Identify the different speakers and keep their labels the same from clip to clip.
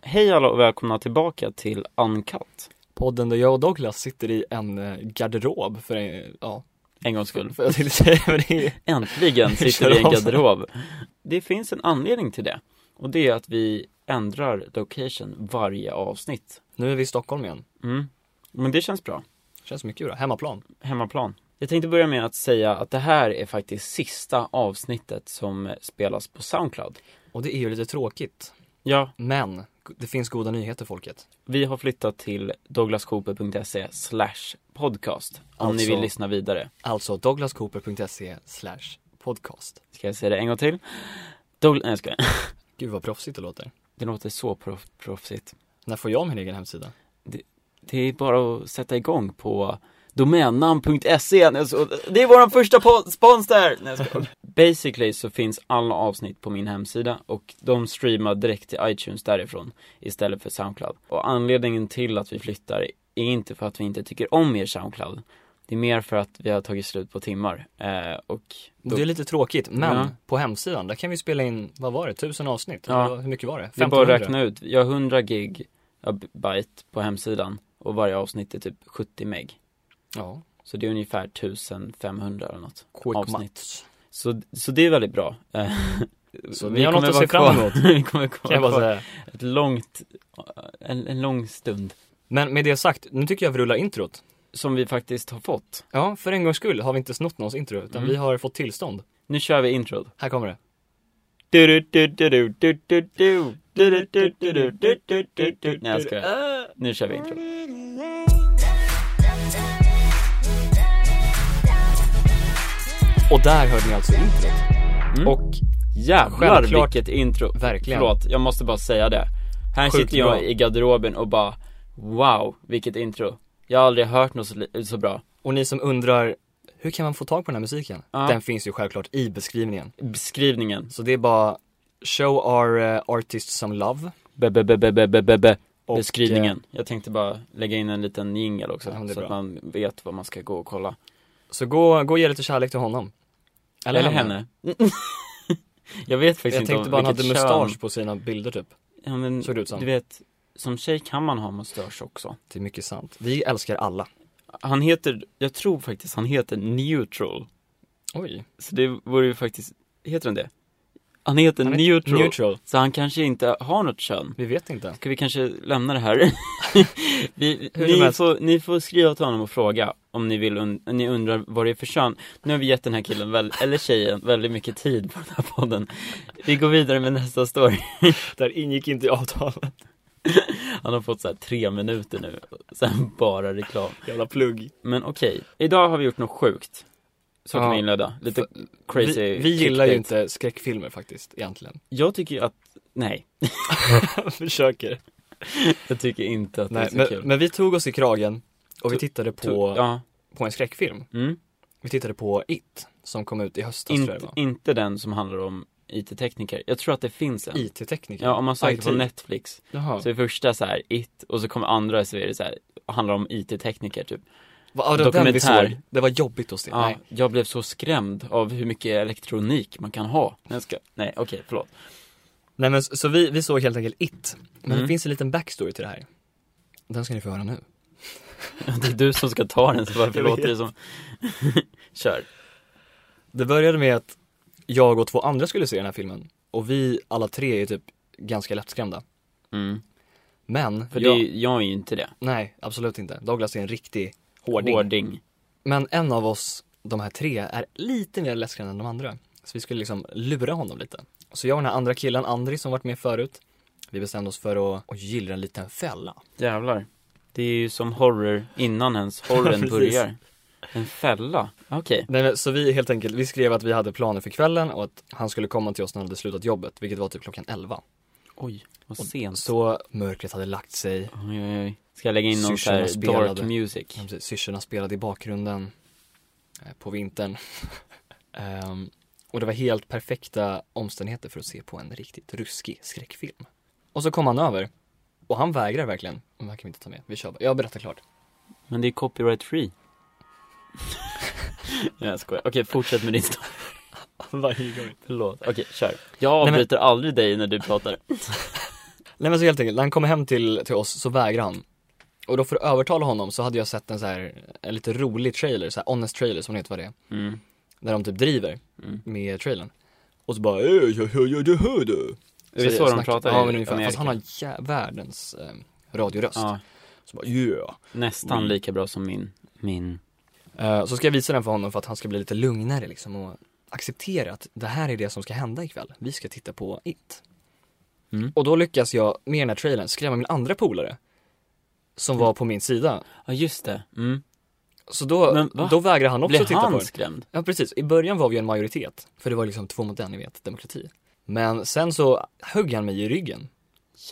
Speaker 1: Hej alla och välkomna tillbaka till Uncut.
Speaker 2: Podden där jag och Douglas sitter i en eh, garderob för en, ja,
Speaker 1: En gångs skull.
Speaker 2: för jag tänkte säga, men det är,
Speaker 1: Äntligen sitter vi i en
Speaker 2: Kör av.
Speaker 1: garderob. Det finns en anledning till det. Och det är att vi ändrar location varje avsnitt.
Speaker 2: nu är vi i Stockholm igen.
Speaker 1: Mm. Men det känns bra.
Speaker 2: Känns mycket bra, hemmaplan.
Speaker 1: Hemmaplan. Jag tänkte börja med att säga att det här är faktiskt sista avsnittet som spelas på Soundcloud.
Speaker 2: Och det är ju lite tråkigt,
Speaker 1: Ja,
Speaker 2: men det finns goda nyheter folket.
Speaker 1: vi har flyttat till douglascooper.se slash podcast. Om
Speaker 2: Alltså-
Speaker 1: ni vill lyssna vidare.
Speaker 2: Alltså douglascooper.se slash podcast.
Speaker 1: Ska jag säga det en gång till? Douglas, nej jag skojar.
Speaker 2: Gud vad proffsigt det låter.
Speaker 1: Det låter så proff- proffsigt.
Speaker 2: När får jag min egen hemsida?
Speaker 1: Det är bara att sätta igång på domännamn.se E. Nej, så- Det är våran första po- spons där! Nej, jag skojar. Basically så finns alla avsnitt på min hemsida och de streamar direkt till iTunes därifrån istället för Soundcloud. Och anledningen till att vi flyttar är inte för att vi inte tycker om er Soundcloud. Det är mer för att vi har tagit slut på timmar eh, och då,
Speaker 2: Det är lite tråkigt, men
Speaker 1: Ja.
Speaker 2: på hemsidan, där kan vi spela in, vad var det, tusen avsnitt?
Speaker 1: Ja.
Speaker 2: Eller Hur mycket var det?
Speaker 1: det är bara att
Speaker 2: 1500?
Speaker 1: räkna ut. Jag har 100 gig eh, byte på hemsidan och varje avsnitt är typ 70 meg.
Speaker 2: Ja,
Speaker 1: Så det är ungefär 1500 eller något.
Speaker 2: quick
Speaker 1: Avsnitt.
Speaker 2: maths.
Speaker 1: Så, så det är väldigt bra. Eh,
Speaker 2: Så
Speaker 1: vi
Speaker 2: ni har något
Speaker 1: kommer
Speaker 2: att
Speaker 1: vara
Speaker 2: se fram
Speaker 1: kvar-
Speaker 2: emot,
Speaker 1: vi kommer
Speaker 2: kan
Speaker 1: kvar
Speaker 2: jag bara
Speaker 1: för
Speaker 2: säga.
Speaker 1: ett långt, eh, en, en lång stund.
Speaker 2: Men med det sagt, nu tycker jag vi rullar introt.
Speaker 1: Som vi faktiskt har fått.
Speaker 2: Ja, för en gångs skull har vi inte snott någons intro, utan
Speaker 1: Mm.
Speaker 2: vi har fått tillstånd.
Speaker 1: Nu kör vi introt.
Speaker 2: Här kommer det.
Speaker 1: Du, du, du, du, du, du, du. Du, du, du, du, du, du, du, du, du. Nej jag skojar.
Speaker 2: skojar.
Speaker 1: Nu kör vi introt.
Speaker 2: Och där hörde ni alltså introt.
Speaker 1: Mm.
Speaker 2: Och
Speaker 1: Jävlar
Speaker 2: Självklart.
Speaker 1: vilket intro.
Speaker 2: Verkligen.
Speaker 1: Förlåt, jag måste bara säga det. Här
Speaker 2: Sjukt
Speaker 1: sitter jag
Speaker 2: bra.
Speaker 1: i garderoben och bara wow, vilket intro. Jag har aldrig hört något så, li- så bra.
Speaker 2: och ni som undrar, hur kan man få tag på den här musiken?
Speaker 1: Ja.
Speaker 2: Den finns ju självklart i beskrivningen.
Speaker 1: Beskrivningen.
Speaker 2: Så det är bara show our eh, artist some love.
Speaker 1: Be, be, be, be, be, be, be.
Speaker 2: Och, eh,
Speaker 1: beskrivningen. Jag tänkte bara lägga in en liten jingel också,
Speaker 2: Ja, men det är
Speaker 1: så att
Speaker 2: bra.
Speaker 1: man vet vad man ska gå och kolla.
Speaker 2: eh, Så gå, gå och ge lite kärlek till honom.
Speaker 1: Eller, henne. jag vet faktiskt
Speaker 2: Jag
Speaker 1: inte
Speaker 2: tänkte
Speaker 1: om
Speaker 2: bara han hade
Speaker 1: vilket
Speaker 2: mustasch
Speaker 1: kön.
Speaker 2: på sina bilder typ.
Speaker 1: Ja, men,
Speaker 2: Såg det ut som.
Speaker 1: Du vet, som tjej kan man ha mustasch också.
Speaker 2: Det är mycket sant. Vi älskar alla.
Speaker 1: Han heter, jag tror faktiskt han heter neutral.
Speaker 2: Oj.
Speaker 1: Så det vore ju faktiskt, heter han det? Han heter
Speaker 2: Han heter
Speaker 1: neutral.
Speaker 2: Neutral.
Speaker 1: Så han kanske inte har något kön.
Speaker 2: Vi vet inte.
Speaker 1: Ska vi kanske lämna det här? vi,
Speaker 2: Hur som
Speaker 1: ni,
Speaker 2: helst.
Speaker 1: får, ni får skriva till honom och fråga om ni, vill und- ni undrar vad det är för kön. Nu har vi gett den här killen, väl, eller tjejen, väldigt mycket tid på den här podden. Vi går vidare med nästa story.
Speaker 2: Där ingick inte i avtalet.
Speaker 1: Han har fått så här tre minuter nu, och sen bara reklam.
Speaker 2: Jävla plugg.
Speaker 1: Men okej, idag har vi gjort något sjukt. Så kan
Speaker 2: Ja.
Speaker 1: vi inleda, lite crazy
Speaker 2: vi, vi gillar ju
Speaker 1: clickbait.
Speaker 2: inte skräckfilmer faktiskt, egentligen.
Speaker 1: Jag tycker ju att, nej,
Speaker 2: Försöker.
Speaker 1: jag tycker inte att
Speaker 2: Nej,
Speaker 1: det är så
Speaker 2: men,
Speaker 1: kul.
Speaker 2: men vi tog oss i kragen och vi
Speaker 1: To-
Speaker 2: tittade på,
Speaker 1: To- ja,
Speaker 2: på en skräckfilm.
Speaker 1: mm.
Speaker 2: Vi tittade på It, som kom ut i höstas tror jag det
Speaker 1: inte,
Speaker 2: var.
Speaker 1: inte den som handlar om IT-tekniker. Jag tror att det finns en.
Speaker 2: IT-tekniker.
Speaker 1: Ja, om man söker på
Speaker 2: IT.
Speaker 1: Netflix
Speaker 2: Jaha.
Speaker 1: så är första så här it och så kommer andra så är det så här handlar om IT-tekniker typ.
Speaker 2: Va, ja, det var den vi
Speaker 1: Dokumentär.
Speaker 2: såg. Det var jobbigt att se.
Speaker 1: Ja,
Speaker 2: Nej.
Speaker 1: jag blev så skrämd av hur mycket elektronik man kan ha. Nej, jag ska... Nej okej, förlåt.
Speaker 2: Nej men så, så vi, vi såg helt enkelt It. Men
Speaker 1: Mm.
Speaker 2: det finns en liten backstory till det här. Den ska ni få höra nu.
Speaker 1: Det är du som ska ta den så varför
Speaker 2: Jag
Speaker 1: låter
Speaker 2: vet.
Speaker 1: det som... Kör.
Speaker 2: Det började med att jag och två andra skulle se den här filmen. Och vi alla tre är typ ganska lättskrämda.
Speaker 1: Mm.
Speaker 2: Men,
Speaker 1: För
Speaker 2: jag-
Speaker 1: det är, jag är ju inte det.
Speaker 2: nej absolut inte. Douglas är en riktig hårding.
Speaker 1: Hårding.
Speaker 2: Men en av oss, de här tre, är lite mer läskig än de andra. Så vi skulle liksom lura honom lite. Så jag och den här andra killen, Andri, som varit med förut, vi bestämde oss för att, att gilla en liten fälla.
Speaker 1: Jävlar. Det är ju som horror innan ens horrorn
Speaker 2: Precis.
Speaker 1: börjar. En fälla. Okej.
Speaker 2: Nej, men, så vi helt enkelt, vi skrev att vi hade planer för kvällen och att han skulle komma till oss när han hade slutat jobbet, vilket var typ klockan 11.
Speaker 1: Oj, vad sent.
Speaker 2: Så mörkret hade lagt sig,
Speaker 1: Oj, oj, oj. Ska jag lägga in någon så
Speaker 2: Syrsorna
Speaker 1: här dark
Speaker 2: spelade.
Speaker 1: music?
Speaker 2: Ja, precis. syrsorna spelade i bakgrunden eh, på vintern. Ehm, och det var helt perfekta omständigheter för att se på en riktigt ruskig skräckfilm. Och så kom han över. Och han vägrar verkligen. Men han kan vi inte ta med. Vi kör bara. Jag berättar klart.
Speaker 1: Men det är copyright free. Nej jag skojar. Okej, fortsätt med din story.
Speaker 2: Varje gång.
Speaker 1: Förlåt. Okej, kör. Jag
Speaker 2: Nej, men-
Speaker 1: avbryter aldrig dig när du pratar.
Speaker 2: Nej men så helt enkelt, när han kommer hem till, till oss så vägrar han. Och då för att övertala honom så hade jag sett en så här, en lite rolig trailer, så här honest trailer som det heter vad det är.
Speaker 1: Mm.
Speaker 2: Där de typ driver
Speaker 1: Mm.
Speaker 2: med trailern. Och så bara "Eh, jag hörde, jag hörde.
Speaker 1: Det är så de
Speaker 2: snack-
Speaker 1: pratar
Speaker 2: Ja
Speaker 1: i
Speaker 2: men ungefär,
Speaker 1: Amerika.
Speaker 2: fast han har jä- världens eh, radioröst.
Speaker 1: Ja,
Speaker 2: Så bara yeah.
Speaker 1: nästan
Speaker 2: Mm.
Speaker 1: lika bra som min, min
Speaker 2: Eh, så ska jag visa den för honom för att han ska bli lite lugnare liksom och acceptera att det här är det som ska hända ikväll. Vi ska titta på It.
Speaker 1: Mm.
Speaker 2: Och då lyckas jag med den här trailern skrämma min andra polare. Som
Speaker 1: Mm.
Speaker 2: var på min sida.
Speaker 1: Ja just det, mm.
Speaker 2: Så då,
Speaker 1: Men va?
Speaker 2: då vägrar han också
Speaker 1: Blev
Speaker 2: titta på
Speaker 1: han
Speaker 2: den.
Speaker 1: skrämd?
Speaker 2: Ja precis, i början var vi en majoritet. För det var liksom två mot en, ni vet, demokrati. Men sen så högg han mig i ryggen.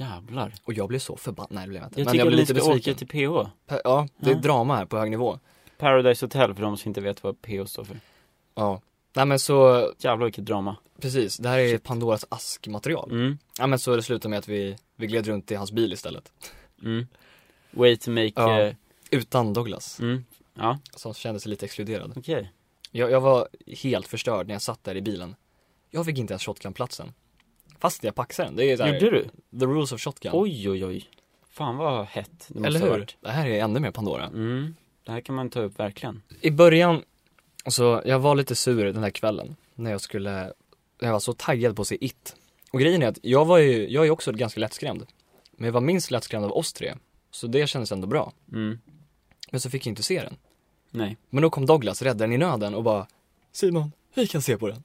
Speaker 1: Jävlar
Speaker 2: Och jag blev så förbannad, nej det blev jag inte.
Speaker 1: Jag
Speaker 2: Men
Speaker 1: tycker
Speaker 2: jag blev
Speaker 1: ni
Speaker 2: lite
Speaker 1: ska åka
Speaker 2: besviken.
Speaker 1: till PH
Speaker 2: Pa- Ja, det är
Speaker 1: Ja.
Speaker 2: drama här på hög nivå.
Speaker 1: Paradise Hotel för de som inte vet vad PH står för
Speaker 2: Ja. Nej men så,
Speaker 1: Jävlar vilket drama
Speaker 2: precis, det här är Pandoras askmaterial.
Speaker 1: mm.
Speaker 2: Ja men så det slutade med att vi, vi gled runt i hans bil istället.
Speaker 1: Mm. Way to make,
Speaker 2: Ja.
Speaker 1: eh,
Speaker 2: Utan Douglas,
Speaker 1: mm. ja
Speaker 2: som kände sig lite exkluderad.
Speaker 1: okej
Speaker 2: Jag, jag var helt förstörd när jag satt där i bilen. Jag fick inte ens shotgunplatsen. Fast jag paxade den, det är så här,
Speaker 1: Gjorde du?
Speaker 2: the rules of shotgun.
Speaker 1: Oj oj oj Fan vad hett det måste
Speaker 2: Eller
Speaker 1: ha
Speaker 2: hur?
Speaker 1: varit.
Speaker 2: Det här är ännu mer Pandora.
Speaker 1: Mm. Det här kan man ta upp verkligen
Speaker 2: I början, så jag var lite sur den här kvällen när jag skulle, jag var så taggad på att se It. Och grejen är att jag var ju, jag är också ganska lättskrämd. Men jag var minst lättskrämd av oss tre. Så det kändes ändå bra.
Speaker 1: mm.
Speaker 2: Men så fick jag inte se den.
Speaker 1: Nej
Speaker 2: Men då kom Douglas, räddaren i nöden och bara Simon, vi kan se på den.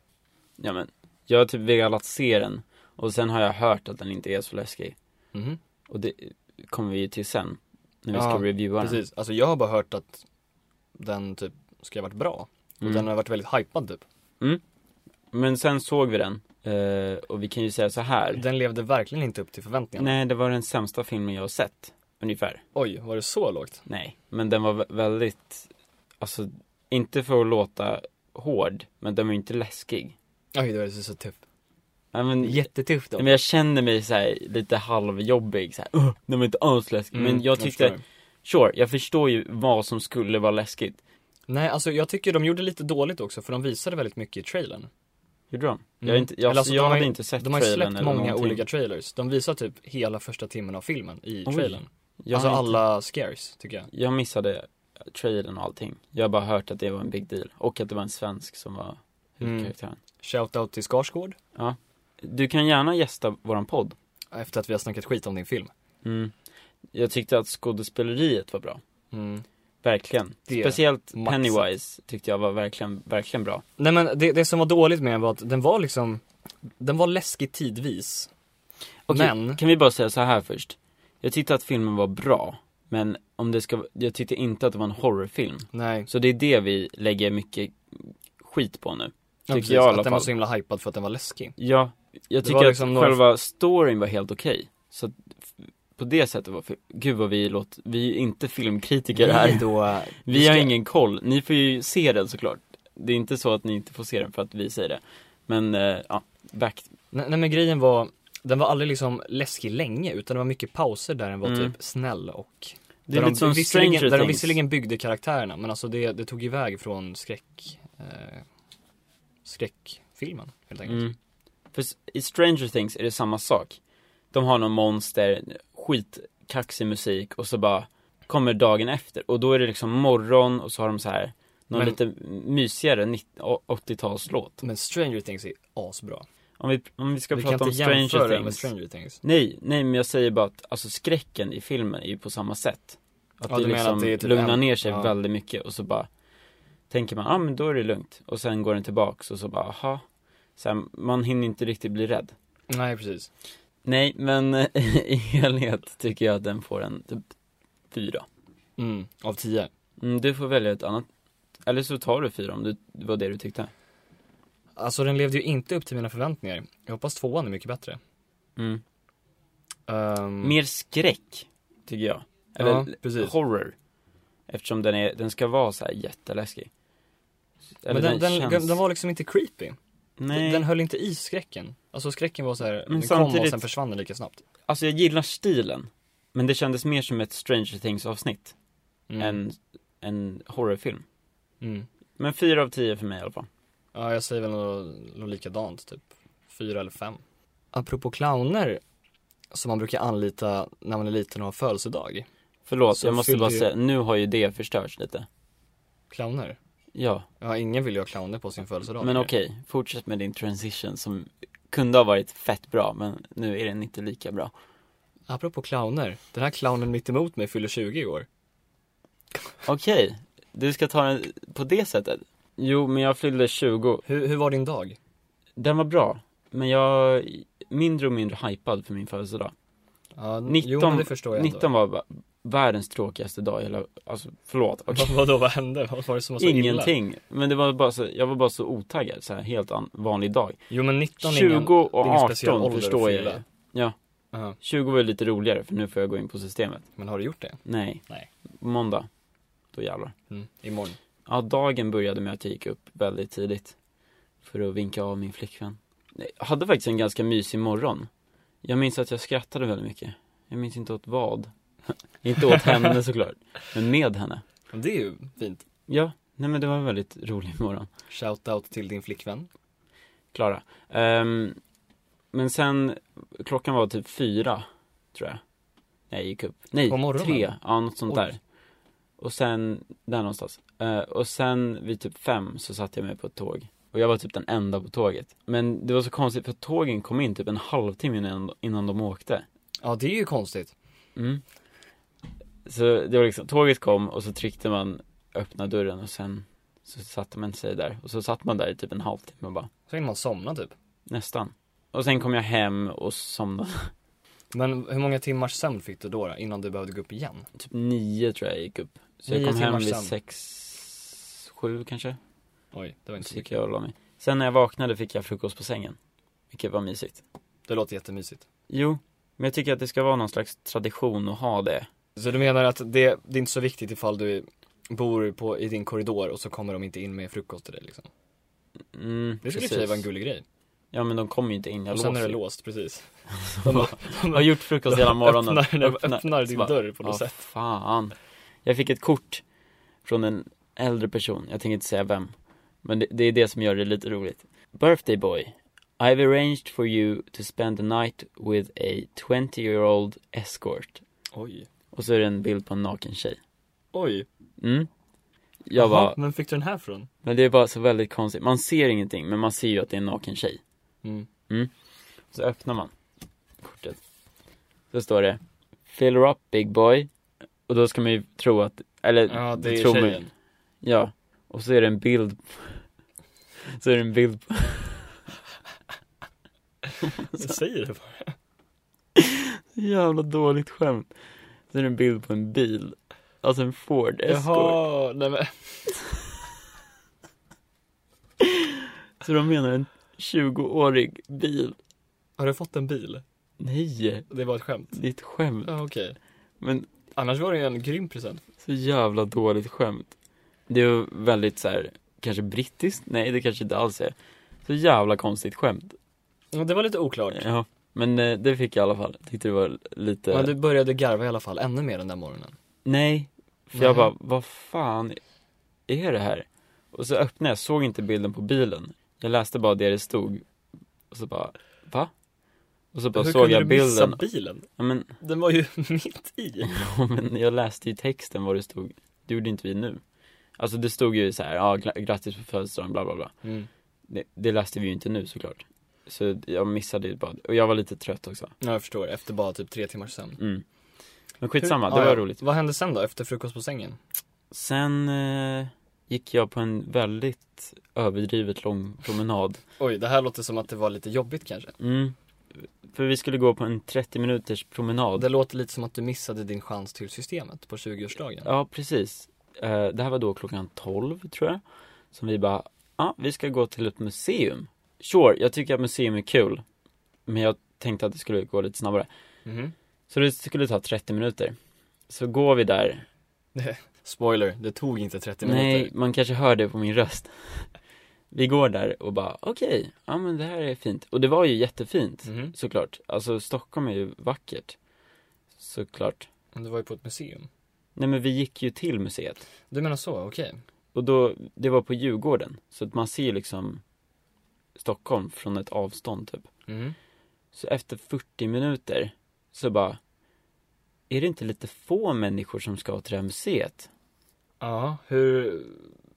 Speaker 1: Ja men, jag har typ velat se den och sen har jag hört att den inte är så läskig
Speaker 2: Mhm,
Speaker 1: och det kommer vi ju till sen när vi
Speaker 2: Ja,
Speaker 1: ska reviewa den.
Speaker 2: Precis, alltså jag har bara hört att den typ ska ha varit bra. Och
Speaker 1: Mm.
Speaker 2: den har varit väldigt hypad typ.
Speaker 1: Men sen såg vi den eh, och vi kan ju säga så här.
Speaker 2: Den levde verkligen inte upp till förväntningarna.
Speaker 1: Nej, det var den sämsta filmen jag har sett. Ungefär.
Speaker 2: Oj, var det så lågt?
Speaker 1: Nej, men den var vä- väldigt, alltså inte för att låta hård, men den var ju inte läskig.
Speaker 2: Oj, det var så tufft.
Speaker 1: Nej, men,
Speaker 2: Jättetufft då.
Speaker 1: nej, men jag kände mig så här, lite halvjobbig så här. "Åh, den var inte alls läskig. men jag tyckte,
Speaker 2: Mm, förstår.
Speaker 1: sure, jag förstår ju vad som skulle vara läskigt.
Speaker 2: Nej, alltså jag tycker de gjorde lite dåligt också för de visade väldigt mycket i trailern.
Speaker 1: Gjorde de? Jag,
Speaker 2: Mm.
Speaker 1: har inte, jag,
Speaker 2: Eller alltså,
Speaker 1: jag
Speaker 2: de har
Speaker 1: hade
Speaker 2: ju-
Speaker 1: inte sett
Speaker 2: De har ju
Speaker 1: trailern
Speaker 2: släppt
Speaker 1: eller
Speaker 2: många
Speaker 1: någonting.
Speaker 2: olika trailers. De visar typ hela första timmen av filmen i
Speaker 1: Oj.
Speaker 2: trailern.
Speaker 1: Jag
Speaker 2: alltså
Speaker 1: har inte-
Speaker 2: alla scares, tycker jag.
Speaker 1: Jag missade trailern och allting. Jag har bara hört att det var en big deal och att det var en svensk som var
Speaker 2: Mm.
Speaker 1: huvudkaraktären.
Speaker 2: Shoutout till Skarsgård.
Speaker 1: Du kan gärna gästa våran podd.
Speaker 2: Efter att vi har snackat skit om din film.
Speaker 1: Mm. Jag tyckte att skådespeleriet var bra.
Speaker 2: Mm.
Speaker 1: Verkligen.
Speaker 2: Det är
Speaker 1: Speciellt
Speaker 2: maxat.
Speaker 1: Pennywise tyckte jag var verkligen, verkligen bra.
Speaker 2: Nej men det, det som var dåligt med den var att den var liksom, den var läskig tidvis.
Speaker 1: Okej,
Speaker 2: Men,
Speaker 1: Kan vi bara säga så här först? Jag tyckte att filmen var bra, men om det ska, jag tyckte inte att det var en horrorfilm.
Speaker 2: nej.
Speaker 1: Så det är det vi lägger mycket skit på nu.
Speaker 2: Ja,
Speaker 1: Tycker
Speaker 2: precis,
Speaker 1: jag i alla
Speaker 2: att den var
Speaker 1: fall.
Speaker 2: så himla hypad för att den var läskig.
Speaker 1: Ja, jag
Speaker 2: Det
Speaker 1: tycker
Speaker 2: var
Speaker 1: att
Speaker 2: liksom några-
Speaker 1: själva storyn var helt okej. Så att f- på det sättet var, för, gud vad vi låter, vi är ju inte filmkritiker
Speaker 2: Vi
Speaker 1: här.
Speaker 2: Då, eh,
Speaker 1: Vi har
Speaker 2: ska-
Speaker 1: ingen koll, ni får ju se den såklart. Det är inte så att ni inte får se den för att vi säger det. Men, eh, ja, back.
Speaker 2: Nej, nej men grejen var, den var aldrig liksom läskig länge utan det var mycket pauser där den var
Speaker 1: Mm.
Speaker 2: typ snäll och
Speaker 1: Det är
Speaker 2: där
Speaker 1: lite som
Speaker 2: visserligen-
Speaker 1: Stranger
Speaker 2: Där de
Speaker 1: Things.
Speaker 2: visserligen byggde karaktärerna men alltså det, det tog iväg från skräck, eh, skräckfilmen helt enkelt.
Speaker 1: Mm. För s- i Stranger Things är det samma sak. De har någon monster, skitkaxig musik och så bara kommer dagen efter och då är det liksom morgon och så har de så här någon
Speaker 2: Men-
Speaker 1: lite mysigare 90 och 80-talslåt.
Speaker 2: Men Stranger Things är asbra.
Speaker 1: Om vi, om vi ska
Speaker 2: Vi kan
Speaker 1: prata
Speaker 2: inte
Speaker 1: om
Speaker 2: jämföra
Speaker 1: Stranger
Speaker 2: den med
Speaker 1: Things
Speaker 2: Stranger Things.
Speaker 1: Nej, nej men jag säger bara att alltså skräcken i filmen är ju på samma sätt Att
Speaker 2: Ja,
Speaker 1: det
Speaker 2: du menar
Speaker 1: liksom
Speaker 2: att det är typ
Speaker 1: lugnar
Speaker 2: en-
Speaker 1: ner sig
Speaker 2: ja.
Speaker 1: väldigt mycket och så bara Tänker man, ja ah, men då är det lugnt och sen går den tillbaks och så bara, aha så här, Man hinner inte riktigt bli rädd
Speaker 2: Nej precis.
Speaker 1: Nej men eh, i helhet tycker jag att den får en typ fyra
Speaker 2: Mm, av tio.
Speaker 1: mm, Du får välja ett annat Eller så tar du fyra om du, det var det du tyckte
Speaker 2: Alltså den levde ju inte upp till mina förväntningar. Jag hoppas tvåan är mycket bättre.
Speaker 1: mm.
Speaker 2: Ehm,
Speaker 1: Mer skräck, tycker jag Eller
Speaker 2: ja, precis.
Speaker 1: horror Eftersom den, är, den ska vara så här jätteläskig
Speaker 2: Men den, den, den, var liksom inte creepy.
Speaker 1: Nej,
Speaker 2: Den höll inte i skräcken. Alltså skräcken var så här, den kom och
Speaker 1: samtidigt-
Speaker 2: sen försvann den lika snabbt.
Speaker 1: alltså jag gillar stilen Men det kändes mer som ett Stranger Things avsnitt
Speaker 2: Mm.
Speaker 1: än en horrorfilm
Speaker 2: Mm.
Speaker 1: Men fyra av tio för mig i alla fall
Speaker 2: Ja, jag säger väl något, något likadant, typ fyra eller fem. Apropå clowner som man brukar anlita när man är liten och har födelsedag.
Speaker 1: Förlåt,
Speaker 2: Så
Speaker 1: jag måste
Speaker 2: fyller
Speaker 1: bara
Speaker 2: ju-
Speaker 1: säga, nu har ju det förstörts lite.
Speaker 2: Clowner?
Speaker 1: Ja,
Speaker 2: Ja, ingen vill ju ha clowner på sin födelsedag.
Speaker 1: men
Speaker 2: längre.
Speaker 1: okej, fortsätt med din transition som kunde ha varit fett bra, men nu är den inte lika bra.
Speaker 2: Apropå clowner, den här clownen mitt emot mig fyller 20 i år.
Speaker 1: Okej, du ska ta den på det sättet? Jo, men jag fyllde 20.
Speaker 2: Hur, hur var din dag?
Speaker 1: Den var bra, men jag är mindre och mindre hypad för min födelsedag.
Speaker 2: Ja,
Speaker 1: 19
Speaker 2: jo, men det förstår jag
Speaker 1: 19 var va- världens tråkigaste dag i hela, alltså förlåt, okej.
Speaker 2: Vad, vadå, vad hände? Vad var det som var så illa?
Speaker 1: Ingenting, men det var bara så, jag var bara så otaggad, så här helt an, vanlig dag.
Speaker 2: Jo men 19 är
Speaker 1: 20
Speaker 2: ingen, det är
Speaker 1: och
Speaker 2: ingen speciell
Speaker 1: 18
Speaker 2: ålder
Speaker 1: förstår jag
Speaker 2: att
Speaker 1: ju.
Speaker 2: fylla.
Speaker 1: Ja,
Speaker 2: Ja,
Speaker 1: 20 var ju lite roligare för nu får jag gå in på systemet.
Speaker 2: Men har du gjort det?
Speaker 1: Nej.
Speaker 2: Nej.
Speaker 1: Måndag. Då jävlar.
Speaker 2: Mm, imorgon?
Speaker 1: Ja, dagen började med att jag gick upp väldigt tidigt. För att vinka av min flickvän. Nej, Jag hade faktiskt en ganska mysig morgon. Jag minns att jag skrattade väldigt mycket. Jag minns inte åt vad. inte åt henne såklart. Men med henne.
Speaker 2: Men Det är ju fint.
Speaker 1: Ja, nej men det var en väldigt rolig morgon.
Speaker 2: Shoutout till din flickvän.
Speaker 1: Klara. Ehm, men sen, klockan var typ fyra, tror jag. När jag gick upp. Nej,
Speaker 2: På morgonen?
Speaker 1: tre. Ja, något sånt
Speaker 2: Oj.
Speaker 1: där. Och sen, där någonstans. Eh, och sen vid typ fem så satte jag mig på ett tåg. Och jag var typ den enda på tåget. Men det var så konstigt för tågen kom in typ en halvtimme innan, innan de åkte.
Speaker 2: Ja det är ju konstigt.
Speaker 1: Mm. Så det var liksom, tåget kom och så tryckte man öppna dörren och sen så satte man sig där. Och så satt man där i typ en halvtimme och bara
Speaker 2: Sen kan man somna typ.
Speaker 1: Nästan. Och sen kom jag hem och somnade.
Speaker 2: Men hur många timmars sömn fick du då, då innan du behövde gå upp igen?
Speaker 1: Typ nio tror jag gick upp. Så
Speaker 2: Nio
Speaker 1: jag kom hem
Speaker 2: timmars
Speaker 1: vid
Speaker 2: sömn.
Speaker 1: sex, sju kanske.
Speaker 2: Oj, det var inte
Speaker 1: Så
Speaker 2: så
Speaker 1: gick
Speaker 2: mycket.
Speaker 1: jag och la mig. Sen när jag vaknade fick jag frukost på sängen. Vilket var mysigt.
Speaker 2: Det låter jättemysigt.
Speaker 1: Jo, men jag tycker att det ska vara någon slags tradition att ha det.
Speaker 2: Så du menar att det, det är inte så viktigt ifall du bor på, i din korridor och så kommer de inte in med frukost till dig liksom?
Speaker 1: Mm,
Speaker 2: Det skulle i och
Speaker 1: precis.
Speaker 2: för sig vara en gullig grej.
Speaker 1: Ja men de kommer ju inte in, jag
Speaker 2: och sen är det
Speaker 1: låser.
Speaker 2: låst, precis.
Speaker 1: Jag har gjort frukost hela morgonen.
Speaker 2: öppnar, öppnar, din
Speaker 1: Så bara,
Speaker 2: dörr på
Speaker 1: Ja,
Speaker 2: något sätt.
Speaker 1: fan. Jag fick ett kort från en äldre person, jag tänker inte säga vem. Men det, det är det som gör det lite roligt. Birthday boy. I've arranged for you to spend the night with a 20 year old escort.
Speaker 2: Oj.
Speaker 1: Och så är det en bild på en naken tjej.
Speaker 2: Oj.
Speaker 1: Mm. Jag
Speaker 2: Jaha,
Speaker 1: bara,
Speaker 2: Men fick du den här från?
Speaker 1: men det är bara så väldigt konstigt. Man ser ingenting, men man ser ju att det är en naken tjej.
Speaker 2: Mm.
Speaker 1: Så öppnar man kortet. Så står det Fill her up big boy. Och då ska man ju tro att, eller
Speaker 2: Ja, det är
Speaker 1: tror man ju-
Speaker 2: tjejen.
Speaker 1: Ja, och så är det en bild Så är det en bild på,
Speaker 2: Jag säger det bara.
Speaker 1: jävla dåligt skämt Så är det en bild på en bil Alltså en Ford Escort
Speaker 2: Jaha, nej men.
Speaker 1: Så de menar en 20-årig bil
Speaker 2: Har du fått en bil?
Speaker 1: Nej,
Speaker 2: Det var ett skämt.
Speaker 1: det är ett skämt
Speaker 2: Ja, okej.
Speaker 1: Men
Speaker 2: Annars var det ju en grym present.
Speaker 1: så jävla dåligt skämt Det är ju väldigt så här, kanske brittiskt? Nej, det kanske inte alls är Så jävla konstigt skämt
Speaker 2: Ja, Det var lite oklart.
Speaker 1: Ja, men eh, det fick jag i alla fall Tyckte det var lite
Speaker 2: Men du började garva i alla fall ännu mer den där morgonen.
Speaker 1: Nej, för
Speaker 2: Nej.
Speaker 1: jag bara, vad fan är det här? Och så öppnade jag, såg inte bilden på bilen Jag läste bara det det stod Och så bara, va? Och så bara
Speaker 2: Hur
Speaker 1: såg
Speaker 2: kunde
Speaker 1: jag
Speaker 2: du missa
Speaker 1: bilden
Speaker 2: bilen?
Speaker 1: ja, men,
Speaker 2: Den var ju mitt i.
Speaker 1: ja, men jag läste ju texten vad det stod Det gjorde inte vi nu Alltså det stod ju så här, ja gla- grattis på födelsedagen, bla bla bla
Speaker 2: Mm.
Speaker 1: det, det läste vi ju inte nu såklart Så jag missade ju bara, och jag var lite trött också
Speaker 2: Ja, jag förstår. Efter bara typ tre timmars sömn.
Speaker 1: mm. Men skitsamma, det
Speaker 2: Ja,
Speaker 1: var
Speaker 2: ja.
Speaker 1: roligt
Speaker 2: Vad hände sen då, efter frukost på sängen?
Speaker 1: Sen eh, gick jag på en väldigt överdrivet lång promenad.
Speaker 2: Oj, det här låter som att det var lite jobbigt kanske.
Speaker 1: Mm. För vi skulle gå på en 30 minuters
Speaker 2: Ja,
Speaker 1: promenad.
Speaker 2: det låter lite som att du missade din chans till systemet på 20-årsdagen.
Speaker 1: Ja, precis. Eh, det här var då klockan 12, tror jag. Som vi bara, ja, ah, vi ska gå till ett museum. Sure, jag tycker att museum är kul. Men jag tänkte att det skulle gå lite snabbare.
Speaker 2: Mhm.
Speaker 1: Så det skulle ta 30 minuter. Så går vi där
Speaker 2: Spoiler, det tog inte 30
Speaker 1: Nej,
Speaker 2: minuter.
Speaker 1: man kanske hör det på min röst. Vi går där och bara, okej, ja men det här är fint. Och det var ju jättefint,
Speaker 2: Mhm.
Speaker 1: såklart. Alltså Stockholm är ju vackert, såklart.
Speaker 2: Men Du var ju på ett museum.
Speaker 1: Nej men vi gick ju till museet.
Speaker 2: Du menar så, okej.
Speaker 1: Och då, det var på Djurgården. Så att man ser ju liksom Stockholm från ett avstånd typ.
Speaker 2: Mhm.
Speaker 1: Så efter 40 minuter så bara, är det inte lite få människor som ska till det här museet?
Speaker 2: Ja, hur,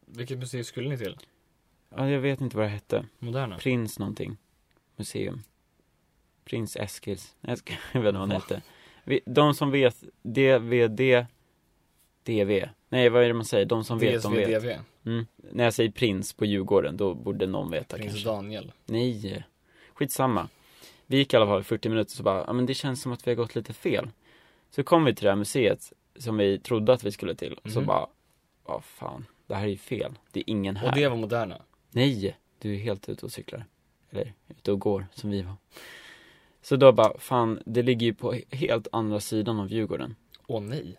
Speaker 2: vilket museum skulle ni till?
Speaker 1: Ja, jag vet inte vad det hette.
Speaker 2: Moderna?
Speaker 1: Prins någonting. Museum. Prins Eskils. Nej, Jag ska- jag vet inte vad han
Speaker 2: Va?
Speaker 1: hette. Vi- De som vet, DVD, DV. Nej, vad är det man säger? De som vet, de vet.
Speaker 2: DSVDV,
Speaker 1: Mm. När jag säger prins på Djurgården, då borde någon veta
Speaker 2: Prins
Speaker 1: kanske.
Speaker 2: Daniel.
Speaker 1: Nej, skitsamma. Vi gick i alla fall 40 minuter så bara, ja men det känns som att vi har gått lite fel. Så kom vi till det här museet som vi trodde att vi skulle till, och så
Speaker 2: Mhm.
Speaker 1: bara, vad fan, det här är ju fel. Det är ingen här.
Speaker 2: Och det var Moderna.
Speaker 1: Nej, du är helt ute och cyklar. Eller ute och går, som vi var. Så då bara, fan, det ligger ju på helt andra sidan av Djurgården.
Speaker 2: Åh nej.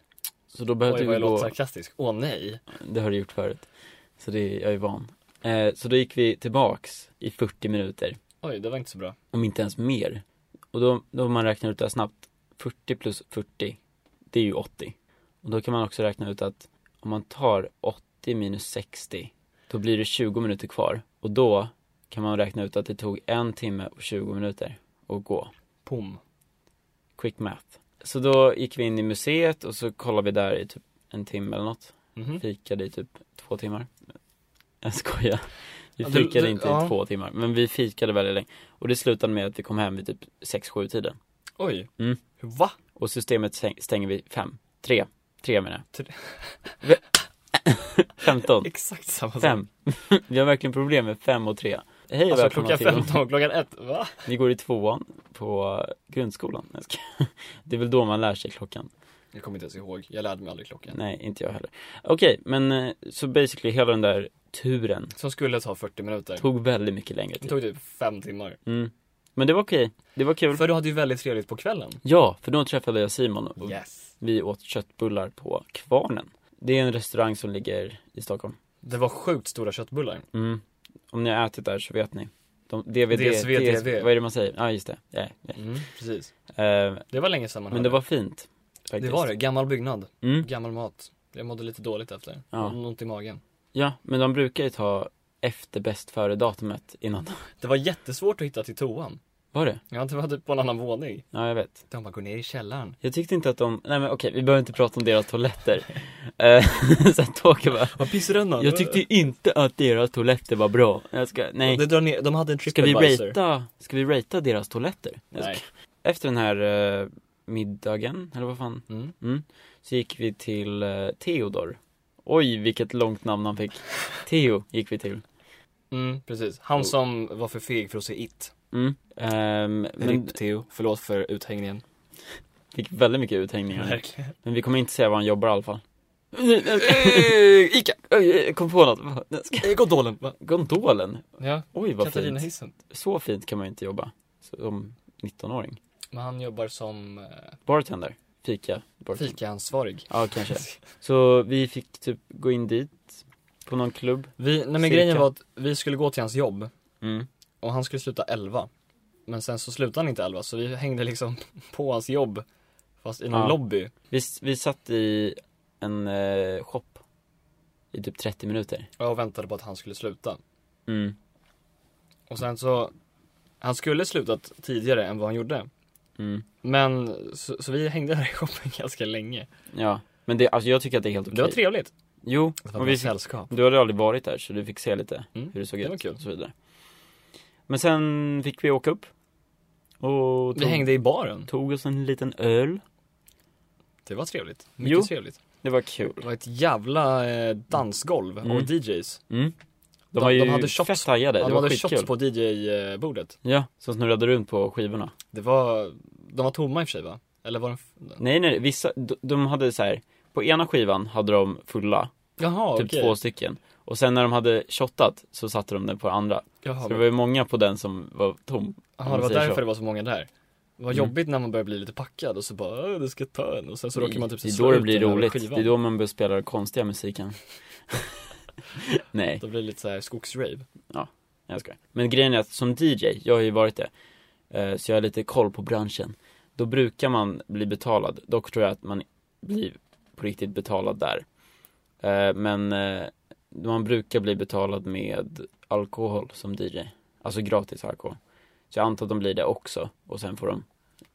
Speaker 1: Så då
Speaker 2: Oj,
Speaker 1: behövde
Speaker 2: vad
Speaker 1: vi
Speaker 2: jag låter
Speaker 1: gå
Speaker 2: sarkastisk. Åh nej.
Speaker 1: det har du gjort förut. Så det, jag är van. Eh, så då gick vi tillbaks i 40 minuter,
Speaker 2: Oj, det var inte så bra.
Speaker 1: om inte ens mer. Och då, då om man räknar ut det här snabbt, 40 plus 40, det är ju 80. Och då kan man också räkna ut att om man tar 80 minus 60, då blir det 20 minuter kvar. Och då kan man räkna ut att det tog en timme och 20 minuter att gå
Speaker 2: Pom.
Speaker 1: quick math. Så då gick vi in i museet och så kollade vi där i typ en timme eller något.
Speaker 2: Mhm.
Speaker 1: Fikade i typ två timmar. Jag skojar. Vi
Speaker 2: Ja, du-
Speaker 1: fikade
Speaker 2: du-
Speaker 1: inte i
Speaker 2: ja.
Speaker 1: två timmar, men vi fikade väldigt länge. Och det slutade med att vi kom hem vid typ 6-7 tiden.
Speaker 2: Oj.
Speaker 1: Mm.
Speaker 2: Va?
Speaker 1: Och systemet säng- stänger vid fem. Tre. Tre menar jag.
Speaker 2: Tre.
Speaker 1: Ve- 15.
Speaker 2: Exakt samma sak.
Speaker 1: Fem. Vi har verkligen problem med fem och tre. Hej och
Speaker 2: Alltså
Speaker 1: välkomna
Speaker 2: klockan
Speaker 1: till
Speaker 2: 15, klockan 1. Va?
Speaker 1: Vi går i tvåan på grundskolan. Jag ska- Det är väl då man lär sig klockan.
Speaker 2: Jag kommer inte ens ihåg. Jag lärde mig aldrig klockan.
Speaker 1: Nej, inte jag heller. Okej, men eh, så basically hela den där turen
Speaker 2: Som skulle ta 40 minuter.
Speaker 1: tog väldigt mycket längre
Speaker 2: Det
Speaker 1: tid.
Speaker 2: tog typ 5 timmar.
Speaker 1: Mm. Men det var okej, det var kul.
Speaker 2: För du hade ju väldigt trevligt på kvällen.
Speaker 1: Ja, för då träffade jag Simon och
Speaker 2: Yes.
Speaker 1: vi åt köttbullar på Kvarnen. Det är en restaurang som ligger i Stockholm.
Speaker 2: Det var sjukt stora köttbullar.
Speaker 1: Mm. Om ni har ätit där så vet ni. De, DVD,
Speaker 2: DSV,
Speaker 1: DS, vad är det man säger? Ja, just det. Ja, ja.
Speaker 2: Mm, precis.
Speaker 1: Eh,
Speaker 2: Det var länge sedan man
Speaker 1: men
Speaker 2: hörde.
Speaker 1: det var fint. Faktiskt.
Speaker 2: det var det. Gammal byggnad.
Speaker 1: Mm.
Speaker 2: Gammal mat. Jag mådde lite dåligt efter.
Speaker 1: Ja.
Speaker 2: Ja. Ont i magen.
Speaker 1: Ja, men de brukar ju ta efter bäst före-datumet innan.
Speaker 2: Det var jättesvårt att hitta till toan.
Speaker 1: Var det?
Speaker 2: Ja, det var typ på en annan våning.
Speaker 1: Ja, jag vet.
Speaker 2: De bara, gå ner i källaren.
Speaker 1: Jag tyckte inte att de, nej men okej, vi behöver inte prata om deras toaletter. Eh, så att Tåke bara,
Speaker 2: Vad pissrännan.
Speaker 1: jag tyckte inte att deras toaletter var bra. Jag ska, nej.
Speaker 2: Det drar ner, de hade en
Speaker 1: Ska vi
Speaker 2: tripadvisor.
Speaker 1: ratea, ska vi ratea deras toaletter? Jag ska-
Speaker 2: Nej.
Speaker 1: Efter den här eh, middagen, eller vad fan,
Speaker 2: Mm.
Speaker 1: så gick vi till eh, Theodor. Oj, vilket långt namn han fick. Theo gick vi till.
Speaker 2: Mm, precis. Han som var för feg för att se It.
Speaker 1: Mm. Ehm, men
Speaker 2: RIP Theo, förlåt för uthängningen.
Speaker 1: fick väldigt mycket uthängningar.
Speaker 2: Verkligen.
Speaker 1: Men vi kommer inte säga var han jobbar i alla fall.
Speaker 2: Ica!
Speaker 1: Oj, jag kom på något. Jag ska-
Speaker 2: Eh, Gondolen! Va?
Speaker 1: Gondolen,
Speaker 2: Ja,
Speaker 1: Oj vad
Speaker 2: Katarina
Speaker 1: fint.
Speaker 2: Hissen.
Speaker 1: Så fint kan man ju inte jobba som 19-åring.
Speaker 2: Men han jobbar som eh,
Speaker 1: Bartender, fika, bartender.
Speaker 2: fikaansvarig.
Speaker 1: Ja kanske. Så vi fick typ gå in dit på någon klubb.
Speaker 2: Vi, nej men
Speaker 1: Cirka.
Speaker 2: grejen var att vi skulle gå till hans jobb
Speaker 1: Mm.
Speaker 2: och han skulle sluta 11. Men sen så slutade han inte 11 så vi hängde liksom på hans jobb fast i någon
Speaker 1: Ja.
Speaker 2: lobby.
Speaker 1: Vi, vi satt i en eh, shop i typ 30 minuter.
Speaker 2: Och jag väntade på att han skulle sluta.
Speaker 1: Mm.
Speaker 2: Och sen så, han skulle slutat tidigare än vad han gjorde.
Speaker 1: Mm.
Speaker 2: Men så, så vi hängde där i shoppen ganska länge.
Speaker 1: Ja, men det, alltså jag tycker att det är helt okej.
Speaker 2: Det var trevligt. Alltså,
Speaker 1: Jo,
Speaker 2: Det var
Speaker 1: och vi
Speaker 2: bra
Speaker 1: fick,
Speaker 2: sällskap.
Speaker 1: du hade aldrig varit där så du fick se lite
Speaker 2: Mm.
Speaker 1: hur det såg
Speaker 2: det
Speaker 1: ut
Speaker 2: var kul.
Speaker 1: och så vidare. Men sen fick vi åka upp. Och
Speaker 2: Vi
Speaker 1: tog,
Speaker 2: hängde i baren.
Speaker 1: tog oss en liten öl.
Speaker 2: Det var trevligt.
Speaker 1: Jo.
Speaker 2: Mycket trevligt.
Speaker 1: Det var kul.
Speaker 2: Det var ett jävla eh, dansgolv
Speaker 1: Mm.
Speaker 2: och DJs.
Speaker 1: Mm. De
Speaker 2: De-
Speaker 1: var ju
Speaker 2: de hade shots.
Speaker 1: fett taggade,
Speaker 2: De
Speaker 1: det var
Speaker 2: hade shots
Speaker 1: skitkul.
Speaker 2: på DJ-bordet.
Speaker 1: Ja, som snurrade runt på skivorna.
Speaker 2: Det var, de var tomma i och för sig va? Eller var de... f-
Speaker 1: Nej nej, vissa, de, de hade så här. på ena skivan hade de fulla,
Speaker 2: Jaha,
Speaker 1: typ
Speaker 2: okej.
Speaker 1: två stycken. Och sen när de hade shottat så satte de den på andra.
Speaker 2: Jaha,
Speaker 1: Så det
Speaker 2: men-
Speaker 1: var ju många på den som var tom.
Speaker 2: jaha,
Speaker 1: man
Speaker 2: det var
Speaker 1: säger
Speaker 2: därför
Speaker 1: så.
Speaker 2: det var så många där. Det var
Speaker 1: Mm.
Speaker 2: jobbigt när man börjar bli lite packad och så bara "Åh, du ska ta en och sen så råkar man typ
Speaker 1: det är
Speaker 2: slå
Speaker 1: då det
Speaker 2: ut
Speaker 1: blir
Speaker 2: den över
Speaker 1: roligt,
Speaker 2: skivan.
Speaker 1: det är då man börjar spela den konstiga musiken. nej,
Speaker 2: Då blir det lite såhär skogsrave.
Speaker 1: jag skojar. Men grejen är att som DJ, jag har ju varit det, eh, så jag har lite koll på branschen. Då brukar man bli betalad, dock tror jag att man blir på riktigt betalad där. Eh, Men eh, man brukar bli betalad med alkohol som DJ, alltså gratis alkohol. Så jag antar att de blir det också, och sen får de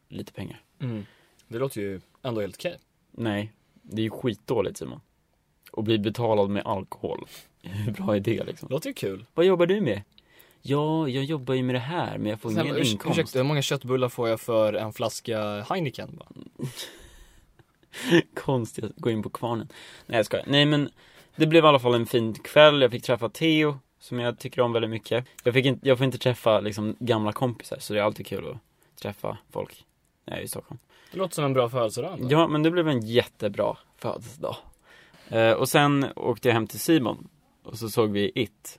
Speaker 1: lite pengar.
Speaker 2: Mm. Det låter ju ändå helt okej.
Speaker 1: Nej, det är ju skitdåligt Simon. Och bli betalad med alkohol. Hur bra är det liksom?
Speaker 2: Låter ju kul.
Speaker 1: Vad jobbar du med? Ja, jag jobbar ju med det här men jag får
Speaker 2: Sen,
Speaker 1: ingen
Speaker 2: urs-
Speaker 1: inkomst.
Speaker 2: Ursäkta, hur många köttbullar får jag för en flaska Heineken? Bara?
Speaker 1: Konstigt att gå in på kvarnen. Nej jag skojar. Nej men det blev i alla fall en fin kväll. Jag fick träffa Theo som jag tycker om väldigt mycket. Jag, fick inte, jag får inte träffa liksom gamla kompisar så det är alltid kul att träffa folk när jag är i Stockholm.
Speaker 2: Det låter som en bra födelsedag ändå.
Speaker 1: Ja men det blev en jättebra födelsedag. Eh, och sen åkte jag hem till Simon och så såg vi It.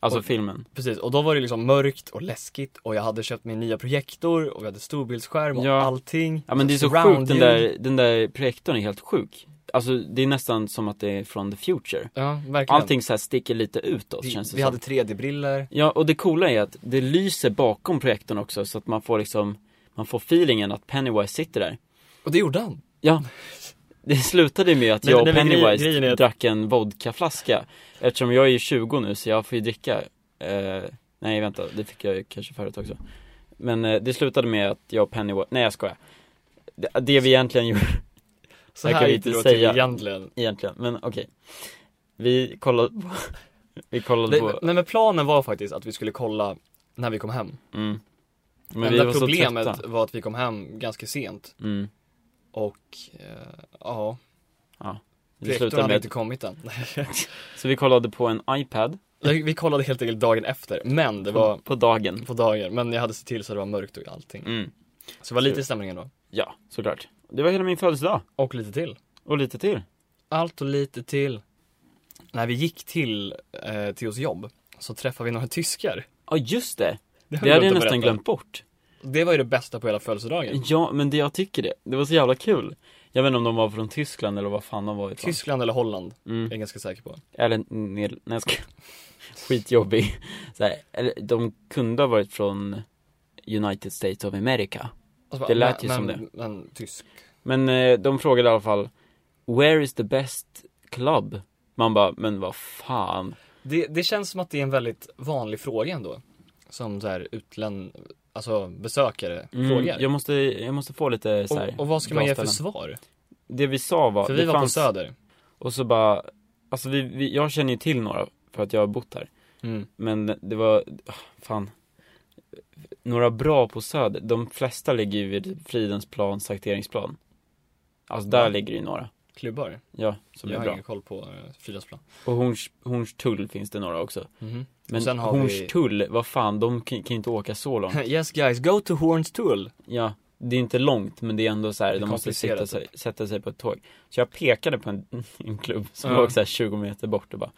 Speaker 1: Alltså
Speaker 2: Oj.
Speaker 1: filmen.
Speaker 2: Precis, och då var det liksom mörkt och läskigt och jag hade köpt min nya projektor och vi hade storbildsskärm och
Speaker 1: Ja.
Speaker 2: allting.
Speaker 1: Ja men det är så
Speaker 2: Surround
Speaker 1: sjukt, den
Speaker 2: ljud.
Speaker 1: där, den där projektorn är helt sjuk. Alltså det är nästan som att det är från the future.
Speaker 2: Ja, verkligen.
Speaker 1: Allting så här sticker lite utåt
Speaker 2: Vi,
Speaker 1: känns det
Speaker 2: vi
Speaker 1: som.
Speaker 2: hade 3D-briller.
Speaker 1: Ja, och det coola är att det lyser bakom projektorn också så att man får liksom, man får feelingen att Pennywise sitter där.
Speaker 2: Och det gjorde han.
Speaker 1: Ja, det slutade med att
Speaker 2: Nej,
Speaker 1: jag och
Speaker 2: nej, men grejen-
Speaker 1: Pennywise
Speaker 2: grejen är att-
Speaker 1: drack en vodkaflaska. Eftersom jag är 20 nu så jag får ju dricka, eh, nej vänta, det fick jag ju kanske förut också. Men eh, det slutade med att jag och Pennywise, nej jag skojar. Det, det vi egentligen gjorde
Speaker 2: Så
Speaker 1: Jag
Speaker 2: här
Speaker 1: kan
Speaker 2: gick
Speaker 1: inte
Speaker 2: det då till
Speaker 1: säga.
Speaker 2: egentligen.
Speaker 1: egentligen, men okej. Vi kollade på, vi kollade
Speaker 2: Det,
Speaker 1: på,
Speaker 2: nej men planen var faktiskt att vi skulle kolla när vi kom hem.
Speaker 1: mm. Men
Speaker 2: Men
Speaker 1: vi var
Speaker 2: Enda
Speaker 1: så
Speaker 2: problemet
Speaker 1: trötta.
Speaker 2: var att vi kom hem ganska sent
Speaker 1: Mm.
Speaker 2: och eh, ja,
Speaker 1: Det
Speaker 2: projektorn
Speaker 1: slutade
Speaker 2: hade
Speaker 1: med att
Speaker 2: inte kommit än.
Speaker 1: Så vi kollade på en iPad
Speaker 2: vi kollade helt enkelt dagen efter, men det var
Speaker 1: på dagen.
Speaker 2: på dagen, men jag hade sett till så det var mörkt och allting.
Speaker 1: Mm.
Speaker 2: Så det var lite i stämningen då.
Speaker 1: Ja, såklart. Det var hela min födelsedag.
Speaker 2: Och lite till.
Speaker 1: Och lite till.
Speaker 2: Allt och lite till. När vi gick till eh, Theos jobb så träffade vi några tyskar.
Speaker 1: Ja, just det.
Speaker 2: har
Speaker 1: Det
Speaker 2: vi
Speaker 1: hade jag
Speaker 2: glömt att
Speaker 1: nästan
Speaker 2: berätta.
Speaker 1: glömt bort.
Speaker 2: Det var ju det bästa på hela födelsedagen.
Speaker 1: Ja, men det jag tycker det. Det var så jävla kul. Jag vet inte om de var från Tyskland eller vad fan de var ifrån.
Speaker 2: Tyskland eller Holland,
Speaker 1: Mm.
Speaker 2: är jag ganska säker på.
Speaker 1: Eller, nej, nej, jag ska... Skitjobbig. Så här, eller, de kunde ha varit från United States of America.
Speaker 2: Och så bara,
Speaker 1: Det lät
Speaker 2: Alltså, men,
Speaker 1: ju som
Speaker 2: men, Men tysk.
Speaker 1: Men eh, de frågade i alla fall, where is the best club? Man bara, men vad fan.
Speaker 2: Det, det känns som att det är en väldigt vanlig fråga ändå. Som så här utlän, alltså besökare
Speaker 1: Mm,
Speaker 2: frågar.
Speaker 1: jag, måste, jag måste få lite så här,
Speaker 2: och, och vad ska
Speaker 1: bra
Speaker 2: man ge för
Speaker 1: ställen.
Speaker 2: svar?
Speaker 1: Det vi sa var,
Speaker 2: för
Speaker 1: det
Speaker 2: vi var
Speaker 1: fanns-
Speaker 2: på Söder.
Speaker 1: och så bara, alltså vi, vi, jag känner ju till några för att jag har bott här.
Speaker 2: Mm.
Speaker 1: Men det var, ah, fan. Några bra på Söder, de flesta ligger ju vid Fridensplan, Sakteringsplan. Alltså där
Speaker 2: Ja.
Speaker 1: ligger ju några.
Speaker 2: Klubbar.
Speaker 1: Ja, som
Speaker 2: jag
Speaker 1: är
Speaker 2: har
Speaker 1: bra.
Speaker 2: ingen koll på eh, Fridhemsplan.
Speaker 1: Och Horns, Hornstull finns det några också.
Speaker 2: Mhm.
Speaker 1: Men
Speaker 2: sen har vi-
Speaker 1: Hornstull, vad fan, de kan kan ju inte åka så långt.
Speaker 2: yes guys, go to Hornstull.
Speaker 1: Ja, det är inte långt men det är ändå så här,
Speaker 2: Det är
Speaker 1: de måste
Speaker 2: komplicerat, typ.
Speaker 1: sitta sig, sätta sig på ett tåg. Så jag pekade på en, en klubb som
Speaker 2: Ja.
Speaker 1: låg så här 20 meter bort och bara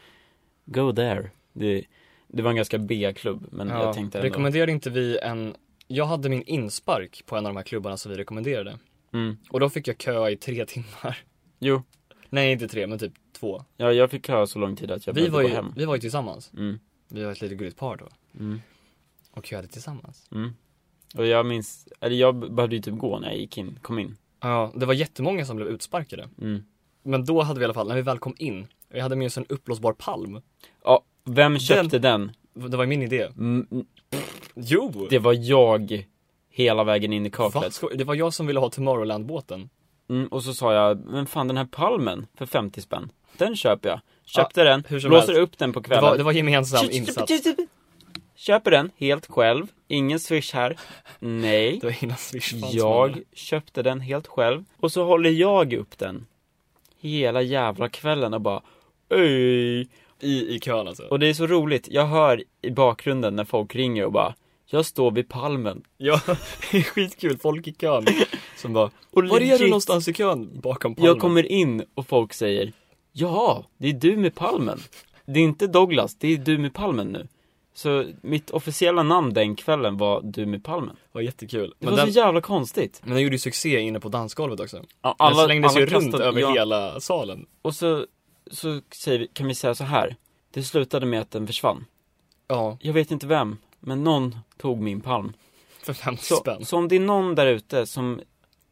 Speaker 1: Go there. Det, det var en ganska B-klubb men jag tänkte ändå
Speaker 2: rekommenderade inte vi en, jag hade min inspark på en av de här klubbarna som vi rekommenderade.
Speaker 1: mm.
Speaker 2: Och då fick jag köa i tre timmar.
Speaker 1: Jo,
Speaker 2: Nej inte tre, men typ två.
Speaker 1: ja, jag fick köa så lång tid att jag
Speaker 2: Vi
Speaker 1: behövde
Speaker 2: var,
Speaker 1: gå
Speaker 2: ju,
Speaker 1: hem.
Speaker 2: vi var ju tillsammans.
Speaker 1: Mm,
Speaker 2: Vi var ett litet gulligt par då.
Speaker 1: mm,
Speaker 2: Och köade tillsammans.
Speaker 1: mm. Och jag minns, eller jag behövde ju typ gå när jag gick in, kom in.
Speaker 2: Ja, det var jättemånga som blev utsparkade.
Speaker 1: Mm.
Speaker 2: Men då hade vi i alla fall, när vi väl kom in, vi hade med oss en uppblåsbar palm.
Speaker 1: Ja, vem köpte den?
Speaker 2: Det var ju min idé.
Speaker 1: Mm,
Speaker 2: Jo!
Speaker 1: det var jag hela vägen in i kaklet.
Speaker 2: Va? Skoj- det var jag som ville ha Tomorrowland-båten.
Speaker 1: Mm, och så sa jag, men fan den här palmen för 50 spänn, den köper jag. Köpte den,
Speaker 2: hur som
Speaker 1: blåser
Speaker 2: helst.
Speaker 1: upp den på
Speaker 2: Det var, det
Speaker 1: kvällen.
Speaker 2: var gemensam insats.
Speaker 1: Köper den helt själv, ingen swish här. Nej,
Speaker 2: Det var innan Swish fanns.
Speaker 1: jag köpte den helt själv. Och så håller jag upp den hela jävla kvällen och bara Öj.
Speaker 2: I, i kön alltså.
Speaker 1: Och det är så roligt, jag hör i bakgrunden när folk ringer och bara Jag står vid palmen.
Speaker 2: Ja, det är skitkul. Folk i kön som bara
Speaker 1: Och
Speaker 2: Var är du
Speaker 1: legit-
Speaker 2: någonstans i kön? Bakom palmen.
Speaker 1: Jag kommer in och folk säger Jaha, det är du med palmen. Det är inte Douglas, det är du med palmen nu. Så mitt officiella namn den kvällen var du med palmen.
Speaker 2: Det var jättekul.
Speaker 1: Det
Speaker 2: Men
Speaker 1: var
Speaker 2: den,
Speaker 1: så jävla konstigt.
Speaker 2: men den gjorde ju succé inne på dansgolvet också.
Speaker 1: Ja,
Speaker 2: Alla, den slängdes ju runt
Speaker 1: kastade-
Speaker 2: över
Speaker 1: ja,
Speaker 2: hela salen.
Speaker 1: Och så, så säger vi, kan vi säga så här. Det slutade med att den försvann.
Speaker 2: Ja,
Speaker 1: Jag vet inte vem, men någon tog min palm.
Speaker 2: för 50
Speaker 1: Så,
Speaker 2: spänn.
Speaker 1: så om det är någon där ute som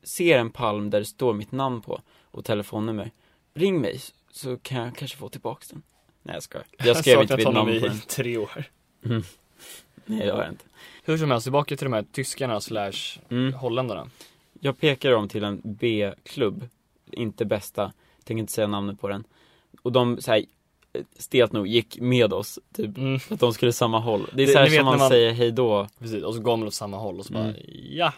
Speaker 1: ser en palm där det står mitt namn på och telefonnummer, ring mig så kan jag kanske få tillbaks den. Nej jag skojar. Jag skrev inte
Speaker 2: saknat
Speaker 1: mitt
Speaker 2: honom
Speaker 1: namn på
Speaker 2: i
Speaker 1: den.
Speaker 2: tre år.
Speaker 1: Nej det har jag inte.
Speaker 2: Hur som helst, tillbaka till de här tyskarna slash
Speaker 1: Mm.
Speaker 2: holländarna.
Speaker 1: Jag pekar dem till en B-klubb, inte bästa, tänker inte säga namnet på den. Och de så här, stelt nog gick med oss, typ,
Speaker 2: Mm.
Speaker 1: för att de skulle samma håll. Det är
Speaker 2: Det-
Speaker 1: så här
Speaker 2: ni vet
Speaker 1: som man,
Speaker 2: när man-
Speaker 1: säger hej då.
Speaker 2: Precis, och så går man åt samma håll och så bara
Speaker 1: Mm.
Speaker 2: ja,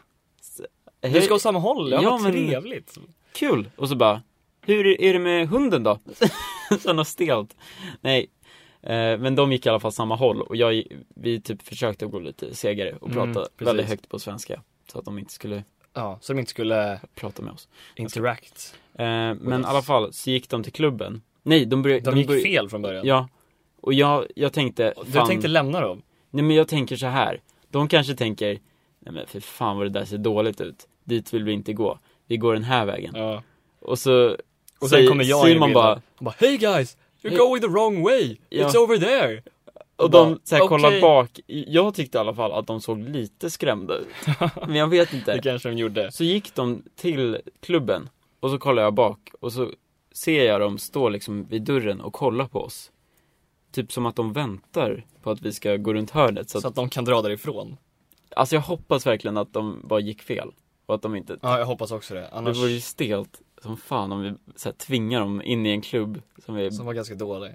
Speaker 1: Hej,
Speaker 2: du ska åt samma håll, ja,
Speaker 1: Ja,
Speaker 2: vad
Speaker 1: men-
Speaker 2: trevligt.
Speaker 1: kul! Och så bara, hur är- är det med hunden då? så något stelt. Nej. Eh, Men de gick i alla fall samma håll och jag, vi typ försökte gå lite segare och
Speaker 2: Mm,
Speaker 1: prata
Speaker 2: precis.
Speaker 1: väldigt högt på svenska. Så att de inte skulle
Speaker 2: Ja, så de inte skulle
Speaker 1: prata med oss.
Speaker 2: interact.
Speaker 1: Eh, Men
Speaker 2: Yes.
Speaker 1: i alla fall så gick de till klubben. Nej, de började...
Speaker 2: De gick
Speaker 1: började-
Speaker 2: fel från början.
Speaker 1: Ja. Och jag, jag tänkte,
Speaker 2: Du
Speaker 1: fan,
Speaker 2: tänkte lämna dem?
Speaker 1: nej men jag tänker så här. De kanske tänker, nej men för fan vad det där ser dåligt ut. Dit vill vi inte gå. Vi går den här vägen.
Speaker 2: Ja.
Speaker 1: Och så
Speaker 2: Och sen
Speaker 1: säger-
Speaker 2: kommer jag in i
Speaker 1: Simon
Speaker 2: bilden.
Speaker 1: bara,
Speaker 2: Han bara Hey guys! You're
Speaker 1: Hey.
Speaker 2: going the wrong way!
Speaker 1: Ja.
Speaker 2: It's over there!
Speaker 1: och
Speaker 2: Bara,
Speaker 1: de så här, kollar
Speaker 2: okej.
Speaker 1: bak. Jag tyckte i alla fall att de såg lite skrämda ut. men jag vet inte.
Speaker 2: Det kanske de gjorde.
Speaker 1: Så gick de till klubben och så kollar jag bak och så ser jag dem stå liksom vid dörren och kolla på oss. Typ som att de väntar på att vi ska gå runt hörnet. Så
Speaker 2: Så
Speaker 1: att,
Speaker 2: att de kan dra därifrån.
Speaker 1: alltså jag hoppas verkligen att de bara gick fel. Och att de inte...
Speaker 2: Ja, jag hoppas också det. Annars,
Speaker 1: Det vore ju stelt som fan om vi så här, tvingar dem in i en klubb som vi...
Speaker 2: som var ganska dålig.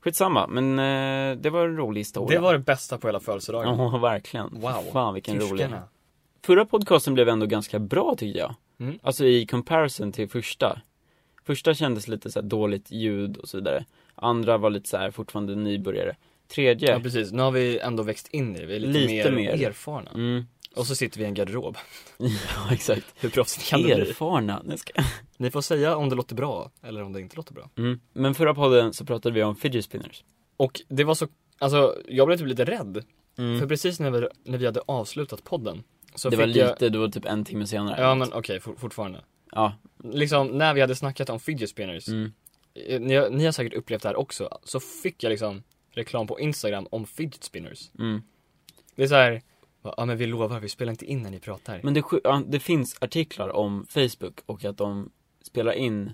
Speaker 1: Skitsamma, men eh, det var en rolig historia.
Speaker 2: Det var det bästa på hela födelsedagen.
Speaker 1: Ja, verkligen.
Speaker 2: Wow.
Speaker 1: Fan vilken rolig.
Speaker 2: Tyskarna.
Speaker 1: Förra podcasten blev ändå ganska bra tyckte jag.
Speaker 2: Mm.
Speaker 1: Alltså i comparison till första. Första kändes lite så här dåligt ljud och så vidare. Andra var lite så här fortfarande nybörjare. Tredje,
Speaker 2: Ja, precis. Nu har vi ändå växt in i det. Vi är lite,
Speaker 1: Lite
Speaker 2: mer,
Speaker 1: mer.
Speaker 2: erfarna.
Speaker 1: mm,
Speaker 2: Och så sitter vi i en garderob.
Speaker 1: ja exakt.
Speaker 2: Hur proffsigt kan det bli?
Speaker 1: Erfarna. Nej, ska-
Speaker 2: Ni får säga om det låter bra eller om det inte låter bra.
Speaker 1: Mm. Men förra podden så pratade vi om fidget spinners.
Speaker 2: Och det var så, alltså jag blev typ lite rädd.
Speaker 1: Mm.
Speaker 2: För precis när vi, när vi hade avslutat podden så
Speaker 1: det
Speaker 2: fick
Speaker 1: var
Speaker 2: jag...
Speaker 1: lite, det var typ en timme senare.
Speaker 2: Ja men okej, for, fortfarande.
Speaker 1: Ja,
Speaker 2: Liksom när vi hade snackat om fidget spinners,
Speaker 1: mm.
Speaker 2: eh, ni, har- ni har säkert upplevt det här också, så fick jag liksom reklam på Instagram om fidget spinners.
Speaker 1: Mm.
Speaker 2: Det är så här, va, ja men vi lovar, vi spelar inte in när ni pratar.
Speaker 1: Men det, sju- ja, det finns artiklar om Facebook och att de spelar in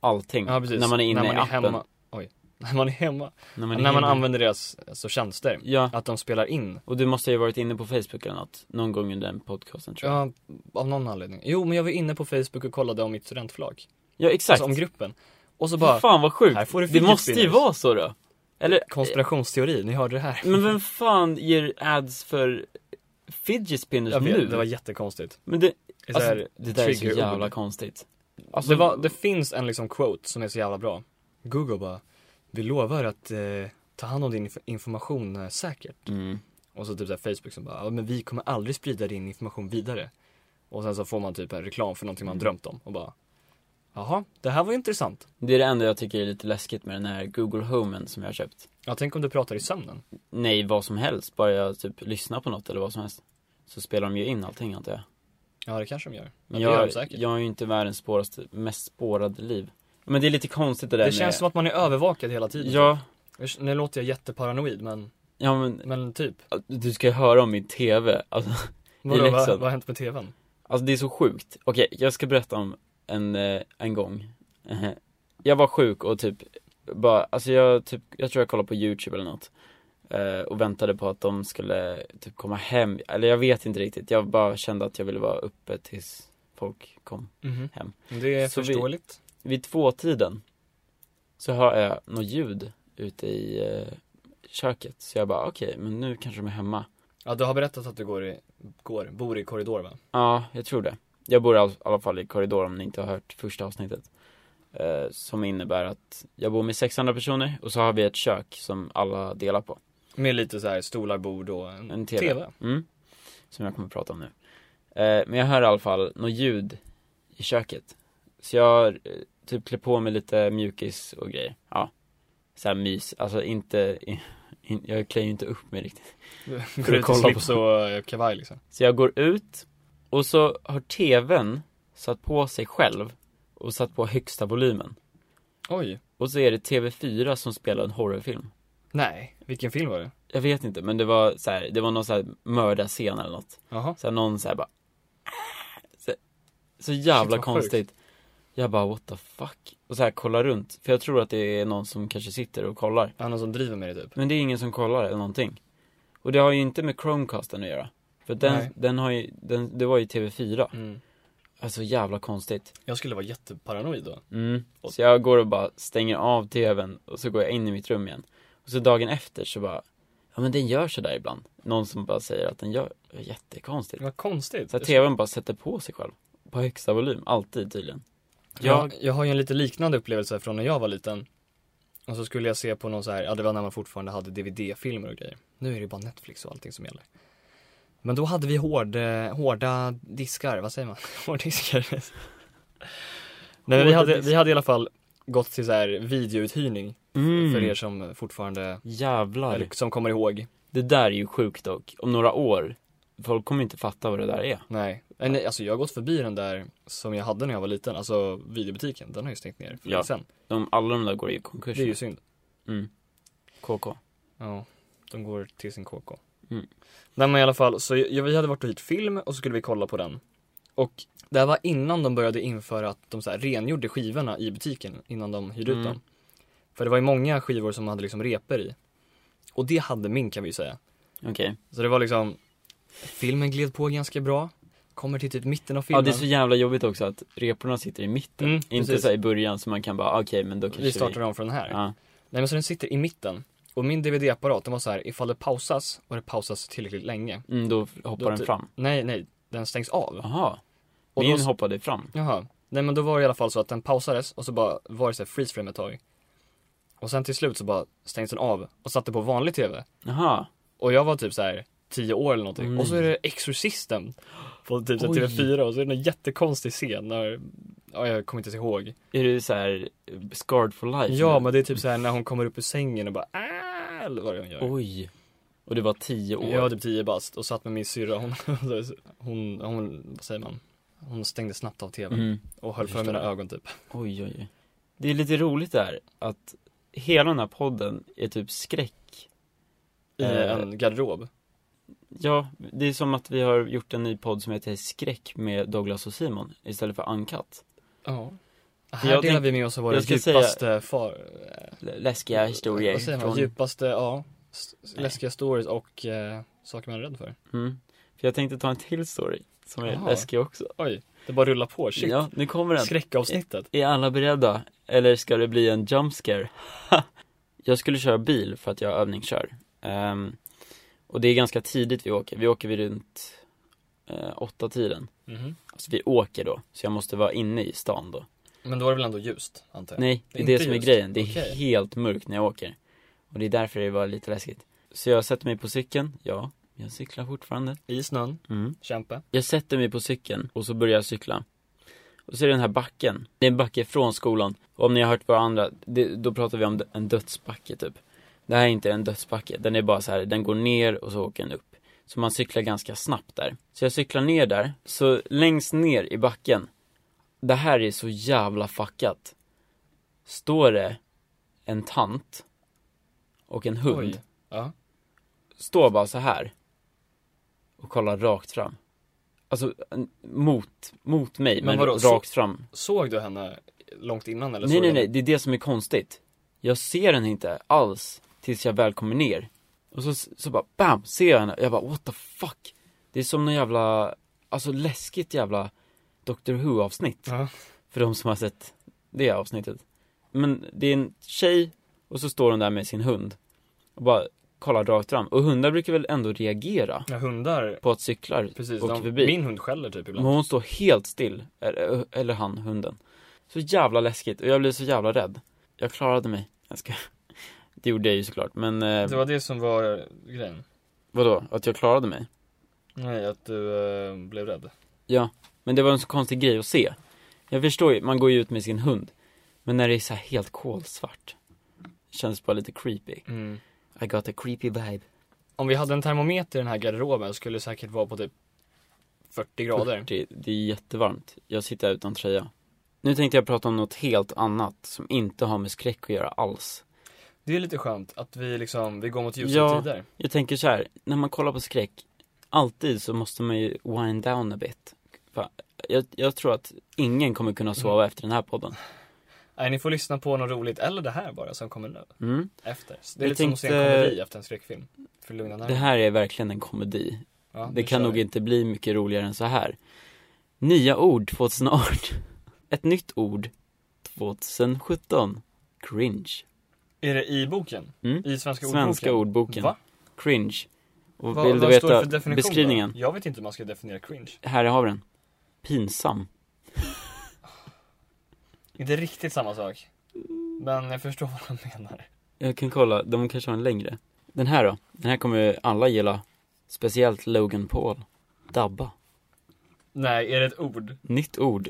Speaker 1: allting.
Speaker 2: ja precis,
Speaker 1: När man är inne i appen.
Speaker 2: hemma. Oj, när man är hemma.
Speaker 1: När man, är
Speaker 2: när man
Speaker 1: hemma.
Speaker 2: använder deras alltså, tjänster.
Speaker 1: Ja,
Speaker 2: Att de spelar in.
Speaker 1: och du måste ju ha varit inne på Facebook eller något. Någon gång under den podcasten tror jag.
Speaker 2: Ja, av någon anledning. Jo men jag var inne på Facebook och kollade om mitt studentförlag.
Speaker 1: Ja, exakt.
Speaker 2: Alltså om gruppen. Och så bara,
Speaker 1: fan vad sjukt.
Speaker 2: här får du
Speaker 1: Det
Speaker 2: fidget
Speaker 1: måste ju
Speaker 2: spinners.
Speaker 1: vara så då. Eller, eh,
Speaker 2: Konspirationsteori, ni hörde det här.
Speaker 1: men vem fan ger ads för fidget spinners
Speaker 2: Jag
Speaker 1: nu?
Speaker 2: vet, det var jättekonstigt.
Speaker 1: Men det,
Speaker 2: Det är så
Speaker 1: alltså,
Speaker 2: här-
Speaker 1: det där är så
Speaker 2: triggerord.
Speaker 1: jävla konstigt. Alltså,
Speaker 2: det, var, det finns en liksom quote som är så jävla bra. Google bara, vi lovar att eh, ta hand om din inf- information eh, säkert.
Speaker 1: Mm.
Speaker 2: Och så typ så här Facebook som bara, ja men vi kommer aldrig sprida din information vidare. Och sen så får man typ en reklam för någonting man
Speaker 1: Mm.
Speaker 2: drömt om och bara, jaha, det här var ju intressant.
Speaker 1: Det är det enda jag tycker är lite läskigt med den här Google Homen som jag har köpt.
Speaker 2: Ja, tänk om du pratar i sömnen.
Speaker 1: Nej, vad som helst. Bara jag typ lyssnar på något eller vad som helst. Så spelar de ju in allting antar jag.
Speaker 2: Ja, det kanske de gör. Men
Speaker 1: Men
Speaker 2: det gör
Speaker 1: jag,
Speaker 2: de säkert.
Speaker 1: jag är ju inte världens spåraste, mest spårade liv. Men det är lite konstigt det där
Speaker 2: det känns som att man är övervakad hela tiden.
Speaker 1: Ja,
Speaker 2: Usch, Nu låter jag jätteparanoid, men,
Speaker 1: ja men äh,
Speaker 2: men typ.
Speaker 1: du ska ju höra om min TV. Alltså,
Speaker 2: Vadå, vad,
Speaker 1: Leksand.
Speaker 2: vad har hänt med tvn?
Speaker 1: alltså det är så sjukt. Okej, jag ska berätta om en, eh, en gång. Eh, Jag var sjuk och typ bara, alltså jag typ, jag tror jag kollade på youtube eller något. Eh, Och väntade på att de skulle typ komma hem, eller jag vet inte riktigt. Jag bara kände att jag ville vara uppe tills folk kom.
Speaker 2: Mhm.
Speaker 1: Hem.
Speaker 2: Det är
Speaker 1: Så vi-
Speaker 2: förståeligt.
Speaker 1: vid tvåtiden så hör jag något ljud ute i eh, köket. Så jag bara, okej, men nu kanske de är hemma.
Speaker 2: Ja, du har berättat att du går i, går, bor i korridor va?
Speaker 1: Ja, jag tror det. Jag bor i all- alla fall i korridor om ni inte har hört första avsnittet. Eh, som innebär att jag bor med 600 personer och så har vi ett kök som alla delar på.
Speaker 2: Med lite så här stolar, bord och en,
Speaker 1: En
Speaker 2: TV.
Speaker 1: TV. Mm. Som jag kommer att prata om nu. Eh, men jag hör i alla fall något ljud i köket. Så jag eh, typ klär på mig lite mjukis och grejer. Ja. Så här mys. Alltså inte, in, in, jag klär ju inte upp mig riktigt.
Speaker 2: Går ut
Speaker 1: kolla
Speaker 2: i
Speaker 1: på-
Speaker 2: slips och eh, kavaj liksom.
Speaker 1: Så jag går ut och så har TVn satt på sig själv och satt på högsta volymen.
Speaker 2: Oj.
Speaker 1: Och så är det TV4 som spelar en horrorfilm.
Speaker 2: Nej, vilken film var det?
Speaker 1: Jag vet inte, men det var så här, det var någon så här mördarscen eller något.
Speaker 2: Jaha.
Speaker 1: Så här, någon så här bara så, så jävla
Speaker 2: Shit, vad sjukt.
Speaker 1: konstigt Jag bara what the fuck Och så här kollar runt För jag tror att det är någon som kanske sitter och kollar
Speaker 2: Han som driver med det typ.
Speaker 1: Men det är ingen som kollar eller någonting Och det har ju inte med Chromecasten att göra För att den,
Speaker 3: Nej.
Speaker 1: den har ju, den, det var ju TV4
Speaker 3: Mm.
Speaker 1: Alltså jävla konstigt
Speaker 2: Jag skulle vara jätteparanoid då.
Speaker 1: mm. Så jag går och bara stänger av TVn och så går jag in i mitt rum igen Och så dagen efter så bara Ja men den gör sådär ibland Någon som bara säger att den gör, jättekonstigt
Speaker 3: Vad konstigt.
Speaker 1: Så att TVn bara sätter på sig själv På högsta volym, alltid tydligen
Speaker 3: Jag-
Speaker 2: Jag, jag har ju en lite liknande upplevelse från när jag var liten. Och så skulle jag se på någon så här, ja det var när man fortfarande hade DVD-filmer och grejer. Nu är det ju bara Netflix och allting som gäller. Men då hade vi hård, eh, hårda diskar, vad säger man? Hårddiskar. Nej men vi
Speaker 1: Hårda
Speaker 2: hade,
Speaker 1: diskar.
Speaker 2: vi hade i alla fall gått till så här videouthyrning
Speaker 1: mm.
Speaker 2: för er som fortfarande,
Speaker 1: Jävlar
Speaker 2: eller som kommer ihåg.
Speaker 1: Det där är ju sjukt dock, om några år Folk kommer inte fatta vad det där är
Speaker 2: Nej, Eh, nej, alltså jag har gått förbi den där som jag hade när jag var liten, alltså videobutiken, den har ju stängt ner
Speaker 1: Ja.
Speaker 2: för länge sen.
Speaker 1: de, Alla de där går i
Speaker 2: Det
Speaker 1: konkurs
Speaker 2: är ju synd.
Speaker 1: mm. KK
Speaker 2: Ja, de går till sin KK.
Speaker 1: Mm.
Speaker 2: Nej men i alla fall, så jag, vi hade varit och hyrt film och så skulle vi kolla på den. Och det här var innan de började införa att de så här rengjorde skivorna i butiken innan de hyrde ut
Speaker 1: Mm.
Speaker 2: dem. För det var ju många skivor som hade liksom repor i. Och det hade min kan vi ju säga.
Speaker 1: Okej
Speaker 2: Så det var liksom, filmen gled på ganska bra. Kommer till typ mitten av
Speaker 1: Ja
Speaker 2: filmen.
Speaker 1: det är så jävla jobbigt också att reporna sitter i mitten
Speaker 2: Mm,
Speaker 1: Inte
Speaker 2: precis.
Speaker 1: så här i början så man kan bara, okej men då kanske
Speaker 2: vi startar om från här.
Speaker 1: Ja,
Speaker 2: Nej men så den sitter i mitten. Och min DVD-apparat, den var så här, ifall det pausas och det pausas tillräckligt länge.
Speaker 1: mm, då hoppar
Speaker 2: Då
Speaker 1: den
Speaker 2: ty-
Speaker 1: fram
Speaker 2: Nej, nej, den stängs av.
Speaker 1: Jaha,
Speaker 2: Och
Speaker 1: min
Speaker 2: då-
Speaker 1: hoppade fram
Speaker 2: Jaha. Nej men då var det i alla fall så att den pausades och så bara var det så här freeze frame ett tag. Och sen till slut så bara stängs den av och satte på vanlig tv.
Speaker 1: Jaha,
Speaker 2: Och jag var typ så här 10 år eller någonting.
Speaker 1: Mm.
Speaker 2: Och så är det Exorcisten på typ så här
Speaker 1: Oj.
Speaker 2: TV4 och så är det en jättekonstig scen när, ja jag kommer inte ens ihåg.
Speaker 1: är du så här eh, scarred for life?
Speaker 2: Ja
Speaker 1: nu?
Speaker 2: men det är typ så här när hon kommer upp ur sängen och bara "Ah", eller vad det är hon gör.
Speaker 1: Oj Och det var tio år?
Speaker 2: Jag var typ 10 bast och satt med min syrra, hon, hon, hon, vad säger man? Hon stängde snabbt av tvn
Speaker 1: mm.
Speaker 2: och höll för
Speaker 1: Förstår.
Speaker 2: mina ögon typ.
Speaker 1: Oj, oj, oj. Det är lite roligt där att hela den här podden är typ skräck.
Speaker 2: I
Speaker 1: Eh.
Speaker 2: en garderob.
Speaker 1: Ja, det är som att vi har gjort en ny podd som heter Skräck med Douglas och Simon istället för Uncut.
Speaker 2: Ja. Här
Speaker 1: Jag
Speaker 2: delar
Speaker 1: tänk-
Speaker 2: vi med oss av våra
Speaker 1: jag ska
Speaker 2: djupaste far...
Speaker 1: L- läskiga historier.
Speaker 2: Vad säger man?
Speaker 1: från-
Speaker 2: Djupaste, ja. s- s-
Speaker 1: Nej.
Speaker 2: Läskiga stories och eh, saker man är rädd för.
Speaker 1: Mm. För jag tänkte ta en till story som är
Speaker 2: Jaha.
Speaker 1: läskig också.
Speaker 2: Oj, det bara rullar på. Shit.
Speaker 1: Ja, nu kommer den.
Speaker 2: Skräckavsnittet.
Speaker 1: Är alla beredda? Eller ska det bli en jump scare? jag skulle köra bil för att jag övningskör. Ehm, och det är ganska tidigt vi åker. Vi åker vid runt uh, åtta tiden.
Speaker 2: Mhm.
Speaker 1: Så Alltså, vi åker då, så jag måste vara inne i stan då
Speaker 2: Men då är det väl ändå ljust, antar jag?
Speaker 1: Nej, det är
Speaker 2: Inte
Speaker 1: det som är
Speaker 2: ljust.
Speaker 1: grejen, det är
Speaker 2: Okej.
Speaker 1: helt mörkt när jag åker Och det är därför det var lite läskigt Så jag sätter mig på cykeln, ja, jag cyklar fortfarande
Speaker 2: I snön,
Speaker 1: mm.
Speaker 2: kämpa.
Speaker 1: Jag sätter mig på cykeln och så börjar jag cykla Och så är det den här backen, det är en backe från skolan Och om ni har hört varandra, det, då pratar vi om d- en dödsbacke typ Det här är inte en dödsbacke, den är bara så här, den går ner och så åker den upp så man cyklar ganska snabbt där. Så jag cyklar ner där, så längst ner i backen, det här är så jävla fuckat. Står det en tant och en hund,
Speaker 2: Oj. Ja.
Speaker 1: står bara så här och kollar rakt fram. Alltså en- mot, mot mig,
Speaker 2: Men
Speaker 1: men,
Speaker 2: vadå, så-
Speaker 1: rakt fram.
Speaker 2: Såg du henne långt innan eller?
Speaker 1: Nej
Speaker 2: såg
Speaker 1: nej
Speaker 2: du
Speaker 1: nej,
Speaker 2: henne?
Speaker 1: det är det som är konstigt. Jag ser henne inte alls tills jag väl kommer ner. Och så, så bara BAM! Ser jag henne. Jag bara what the fuck? Det är som någon jävla, alltså läskigt jävla Doctor Who avsnitt.
Speaker 2: Ja.
Speaker 1: För de som har sett det avsnittet. Men det är en tjej och så står hon där med sin hund. Och bara kollar rakt fram. Och hundar brukar väl ändå reagera
Speaker 2: Ja, hundar.
Speaker 1: på att cyklar
Speaker 2: Precis,
Speaker 1: åker
Speaker 2: de,
Speaker 1: förbi.
Speaker 2: min hund skäller typ
Speaker 1: Men
Speaker 2: ibland.
Speaker 1: hon står helt still, eller, eller han, hunden. Så jävla läskigt och jag blev så jävla rädd. Jag klarade mig. Jag ska... Det gjorde jag ju såklart, men eh,
Speaker 2: Det var det som var grejen.
Speaker 1: vadå? Att jag klarade mig?
Speaker 2: Nej, att du eh, blev rädd.
Speaker 1: Ja, men det var en så konstig grej att se. Jag förstår ju, man går ju ut med sin hund. Men när det är så här helt kolsvart. Känns bara lite creepy.
Speaker 2: Mm.
Speaker 1: I got a creepy vibe.
Speaker 2: Om vi hade en termometer i den här garderoben skulle det säkert vara på typ 40 grader.
Speaker 1: Det, det är jättevarmt. Jag sitter här utan tröja. Nu tänkte jag prata om något helt annat som inte har med skräck att göra alls.
Speaker 2: Det är lite skönt att vi liksom, vi går mot ljusa
Speaker 1: Ja.
Speaker 2: tider.
Speaker 1: Jag tänker så här, när man kollar på skräck, alltid så måste man ju wind down a bit. Fan, Jag, jag tror att ingen kommer
Speaker 2: Mm.
Speaker 1: kunna sova efter den här podden.
Speaker 2: Nej, ni får lyssna på något roligt, eller det här bara som kommer nu,
Speaker 1: Mm.
Speaker 2: efter. Så Det är
Speaker 1: Jag
Speaker 2: lite som att se en
Speaker 1: tänkte-
Speaker 2: komedi efter en skräckfilm. För att lugna
Speaker 1: Det
Speaker 2: nerverna.
Speaker 1: här är verkligen en komedi.
Speaker 2: Ja,
Speaker 1: Det
Speaker 2: nu
Speaker 1: kan
Speaker 2: kör
Speaker 1: nog
Speaker 2: vi.
Speaker 1: inte bli mycket roligare än så här. Nya ord 2018. Ett nytt ord 2017. Cringe.
Speaker 2: Är det i boken?
Speaker 1: Mm.
Speaker 2: I svenska ordboken?
Speaker 1: Svenska ordboken.
Speaker 2: Va?
Speaker 1: Cringe. Och
Speaker 2: Vad-
Speaker 1: vill du
Speaker 2: vad står det
Speaker 1: veta
Speaker 2: för definition då?
Speaker 1: beskrivningen?
Speaker 2: Jag vet inte hur man ska definiera cringe.
Speaker 1: Här har vi den. Pinsam.
Speaker 2: Inte riktigt samma sak. Men jag förstår vad de menar.
Speaker 1: Jag kan kolla, de kanske har en längre. Den här då? Den här kommer ju alla gilla. Speciellt Logan Paul. Dabba.
Speaker 2: Nej, är det ett ord?
Speaker 1: Nytt ord.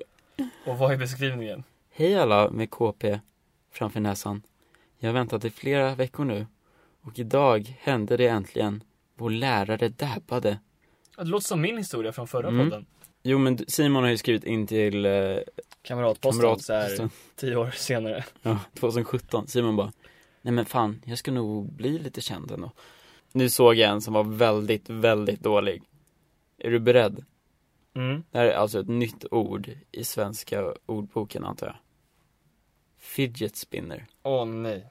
Speaker 2: Och vad är beskrivningen?
Speaker 1: Hej alla med KP framför näsan. Jag har väntat i flera veckor nu. Och idag hände det äntligen. Vår lärare dabbade.
Speaker 2: Det låter som min historia från förra
Speaker 1: Mm.
Speaker 2: podden.
Speaker 1: Jo men du- Simon har ju skrivit in till eh,
Speaker 2: Kamratposten
Speaker 1: kamrat...
Speaker 2: så här tio år senare.
Speaker 1: Ja, 2017. Simon bara, nej men fan, jag ska nog bli lite känd ändå. Nu såg jag en som var väldigt, väldigt dålig. Är du beredd?
Speaker 2: Mm.
Speaker 1: Det här är alltså ett nytt ord i svenska ordboken antar jag. Fidget spinner.
Speaker 2: Åh nej.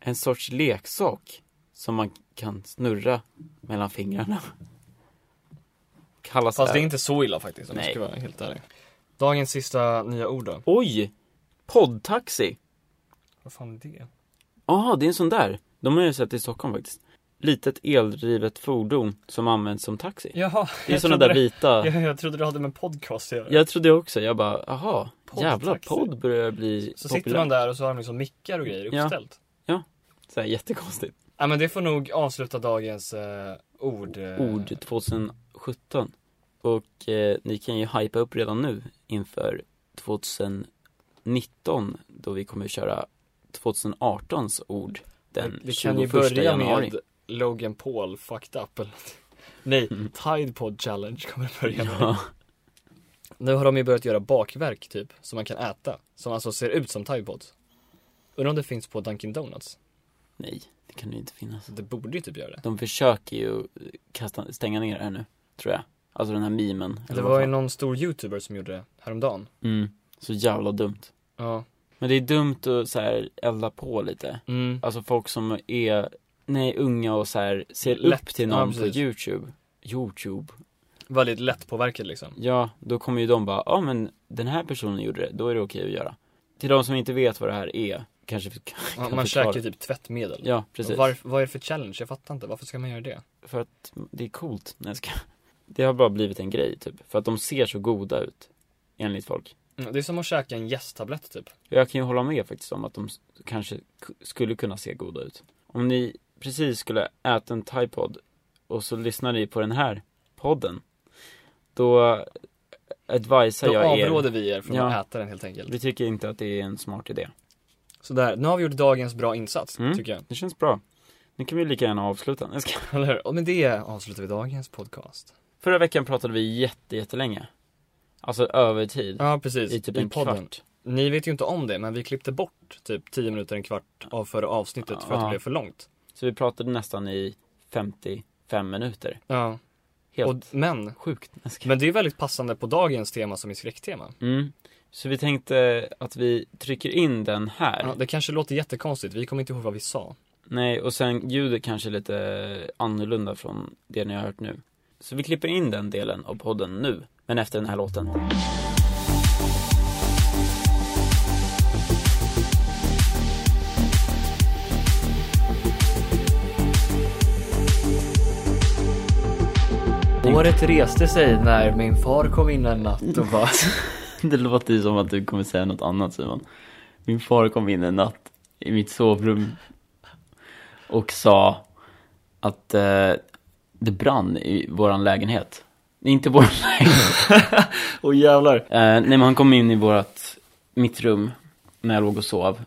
Speaker 1: En sorts leksak som man kan snurra mellan fingrarna. Kallas
Speaker 2: Fast det är inte så illa faktiskt om jag
Speaker 1: Nej.
Speaker 2: ska vara helt ärlig. Äh. Dagens sista nya ord då.
Speaker 1: Oj! Poddtaxi!
Speaker 2: Vad fan är det?
Speaker 1: Jaha, det är en sån där. De har jag sett i Stockholm faktiskt. Litet eldrivet fordon som används som taxi.
Speaker 2: Jaha.
Speaker 1: Det är
Speaker 2: jag
Speaker 1: såna
Speaker 2: trodde
Speaker 1: där vita.
Speaker 2: Jag, jag trodde du hade med podcast att göra.
Speaker 1: Jag trodde också, jag bara, aha,
Speaker 2: Poddtaxi.
Speaker 1: jävla podd börjar bli
Speaker 2: Så sitter
Speaker 1: populär.
Speaker 2: man där och så har de liksom mickar och grejer
Speaker 1: Ja.
Speaker 2: uppställt.
Speaker 1: Så här, jättekonstigt.
Speaker 2: Ja men det får nog avsluta dagens eh, ord. eh,
Speaker 1: Ord 2017. Och eh, ni kan ju hypa upp redan nu inför 2019 då vi kommer köra 2018s ord den
Speaker 2: Vi kan ju
Speaker 1: 21
Speaker 2: börja
Speaker 1: januari.
Speaker 2: med Logan Paul fucked up eller någonting. Nej,
Speaker 1: Mm.
Speaker 2: Tide Pod Challenge kommer att börja med.
Speaker 1: Ja,
Speaker 2: Nu har de ju börjat göra bakverk typ, som man kan äta. Som alltså ser ut som Tide Pods. Undrar om det finns på Dunkin Donuts?
Speaker 1: nej, det kan ju inte finnas.
Speaker 2: Det borde ju typ göra det.
Speaker 1: De försöker ju kasta, stänga ner det här nu, tror jag. Alltså den här memen. eller
Speaker 2: Det
Speaker 1: vad
Speaker 2: var ju
Speaker 1: fan.
Speaker 2: någon stor youtuber som gjorde det häromdagen.
Speaker 1: Mm, så jävla dumt.
Speaker 2: Ja.
Speaker 1: Men det är dumt att så här elda på lite.
Speaker 2: Mm.
Speaker 1: Alltså folk som är, nej, unga och så här ser
Speaker 2: Lätt,
Speaker 1: upp till
Speaker 2: ja,
Speaker 1: någon på
Speaker 2: precis.
Speaker 1: youtube. Youtube.
Speaker 2: Väldigt lättpåverkad liksom.
Speaker 1: Ja, då kommer ju de bara, ja ah, men den här personen gjorde det, då är det okej att göra. Till de som inte vet vad det här är, kanske vi kan,
Speaker 2: Man,
Speaker 1: kan
Speaker 2: man
Speaker 1: förklara.
Speaker 2: käkar ju typ tvättmedel.
Speaker 1: Ja, precis.
Speaker 2: Varf- vad är det för challenge? Jag fattar inte. Varför ska man göra det?
Speaker 1: För att det är coolt. Nej, jag ska. Det har bara blivit en grej typ, för att de ser så goda ut. Enligt folk.
Speaker 2: Mm, Det är som att käka en gästtablett typ.
Speaker 1: Jag kan ju hålla med faktiskt om att de s- kanske k- skulle kunna se goda ut. Om ni precis skulle äta en Thaipod och så lyssnar ni på den här podden, då advisar
Speaker 2: Då
Speaker 1: jag
Speaker 2: avråder
Speaker 1: er.
Speaker 2: vi er från
Speaker 1: Ja.
Speaker 2: att äta den helt enkelt.
Speaker 1: Vi tycker inte att det är en smart idé.
Speaker 2: Sådär, nu har vi gjort dagens bra insats,
Speaker 1: Mm.
Speaker 2: tycker jag.
Speaker 1: Det känns bra. Nu kan vi lika gärna avsluta. Jag ska...
Speaker 2: Eller hur? Och med det avslutar vi dagens podcast.
Speaker 1: Förra veckan pratade vi jätte, jättelänge. Alltså övertid.
Speaker 2: Ja, precis.
Speaker 1: I typ en kvart.
Speaker 2: Ni vet ju inte om det, men vi klippte bort typ 10 minuter, en kvart av förra avsnittet för att det
Speaker 1: Ja.
Speaker 2: blev för långt.
Speaker 1: Så vi pratade nästan i 55 minuter.
Speaker 2: Ja.
Speaker 1: Helt
Speaker 2: Och, men,
Speaker 1: sjukt. Jag ska...
Speaker 2: men det är väldigt passande på dagens tema som är skräcktema.
Speaker 1: Mm. Så vi tänkte att vi trycker in den här.
Speaker 2: Ja, det kanske låter jättekonstigt, vi kommer inte ihåg vad vi sa.
Speaker 1: Nej, och sen ljudet kanske är lite annorlunda från det ni har hört nu. Så vi klipper in den delen av podden nu, men efter den här låten.
Speaker 2: Året reste sig när min far kom in en natt och bara
Speaker 1: Det låter ju som att du kommer säga något annat Simon. Min far kom in en natt i mitt sovrum och sa att eh, det brann i våran lägenhet. Inte vår lägenhet.
Speaker 2: Åh jävlar.
Speaker 1: Eh, nej men han kom in i vårat, mitt rum när jag låg och sov.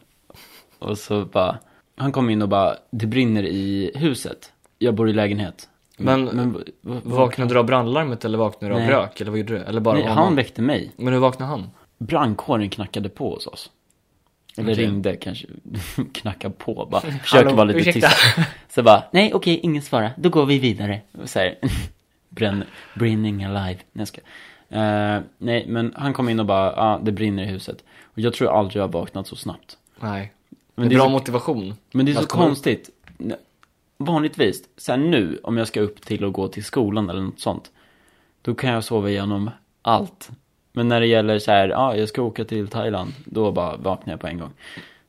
Speaker 1: Och så bara, han kom in och bara, det brinner i huset. Jag bor i lägenhet.
Speaker 2: Men-
Speaker 1: v- v-
Speaker 2: Vaknade du av brandlarmet eller vaknade du av
Speaker 1: Nej.
Speaker 2: rök eller vad gjorde du? Eller bara
Speaker 1: nej,
Speaker 2: av
Speaker 1: han
Speaker 2: någon?
Speaker 1: väckte mig.
Speaker 2: Men hur vaknade han?
Speaker 1: Brandkåren knackade på hos oss. Eller
Speaker 2: Okej.
Speaker 1: ringde kanske, knacka på bara, försöker vara lite
Speaker 2: ursäkta.
Speaker 1: tyst. Så bara, nej okej, ingen svara, då går vi vidare. Och Så här, bränner, brinning alive. Nej, jag ska. nej, men han kom in och bara, ja ah, det brinner i huset. Och jag tror aldrig jag har vaknat så snabbt.
Speaker 2: Nej.
Speaker 1: Men
Speaker 2: det är bra
Speaker 1: så,
Speaker 2: motivation.
Speaker 1: men det är så
Speaker 2: Att komma-
Speaker 1: konstigt. vanligtvis, sen nu, om jag ska upp till och gå till skolan eller något sånt, då kan jag sova igenom allt. Men när det gäller så här, ja, ah, jag ska åka till Thailand, då bara vaknar jag på en gång.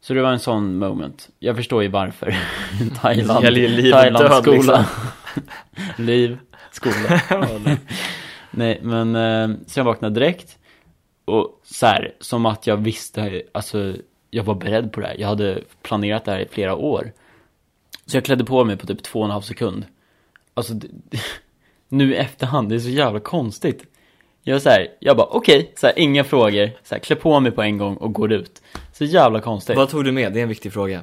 Speaker 1: Så det var en sån moment. Jag förstår ju varför. Thailand,
Speaker 2: Det gäller ju liv och
Speaker 1: Thailand,
Speaker 2: död,
Speaker 1: skola.
Speaker 2: liksom.
Speaker 1: liv, skola. Nej, men eh, så jag vaknade direkt. Och så här, som att jag visste, alltså jag var beredd på det här. Jag hade planerat det här i flera år. Så jag klädde på mig på typ två och en halv sekund. Alltså, det, det, nu i efterhand, det är så jävla konstigt. Jag så här, jag bara okej, så här, inga frågor. Så här, klä på mig på en gång och går ut. Så jävla konstigt.
Speaker 2: Vad tog du med? Det är en viktig fråga.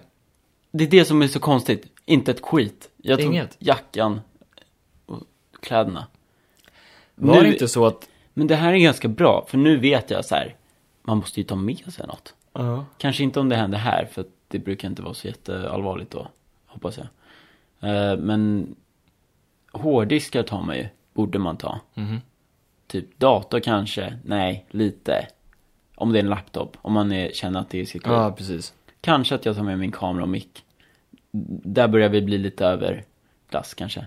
Speaker 1: Det är det som är så konstigt. Inte ett skit. Jag tog
Speaker 2: Inget.
Speaker 1: jackan och kläderna.
Speaker 4: Var
Speaker 1: Nu-
Speaker 4: det inte så att...
Speaker 1: Men det här är ganska bra, för nu vet jag så här. man måste ju ta med sig något.
Speaker 4: Ja.
Speaker 1: Kanske inte om det händer här, för att det brukar inte vara så jätteallvarligt då, hoppas jag. Eh, Men hårddiskar tar man ju, borde man ta.
Speaker 2: Mhm.
Speaker 1: Typ dator kanske, nej, lite. Om det är en laptop, om man är, känner att det är sitt
Speaker 2: Ja, precis.
Speaker 1: Kanske att jag tar med min kamera och mick. Där börjar vi bli lite överklass kanske.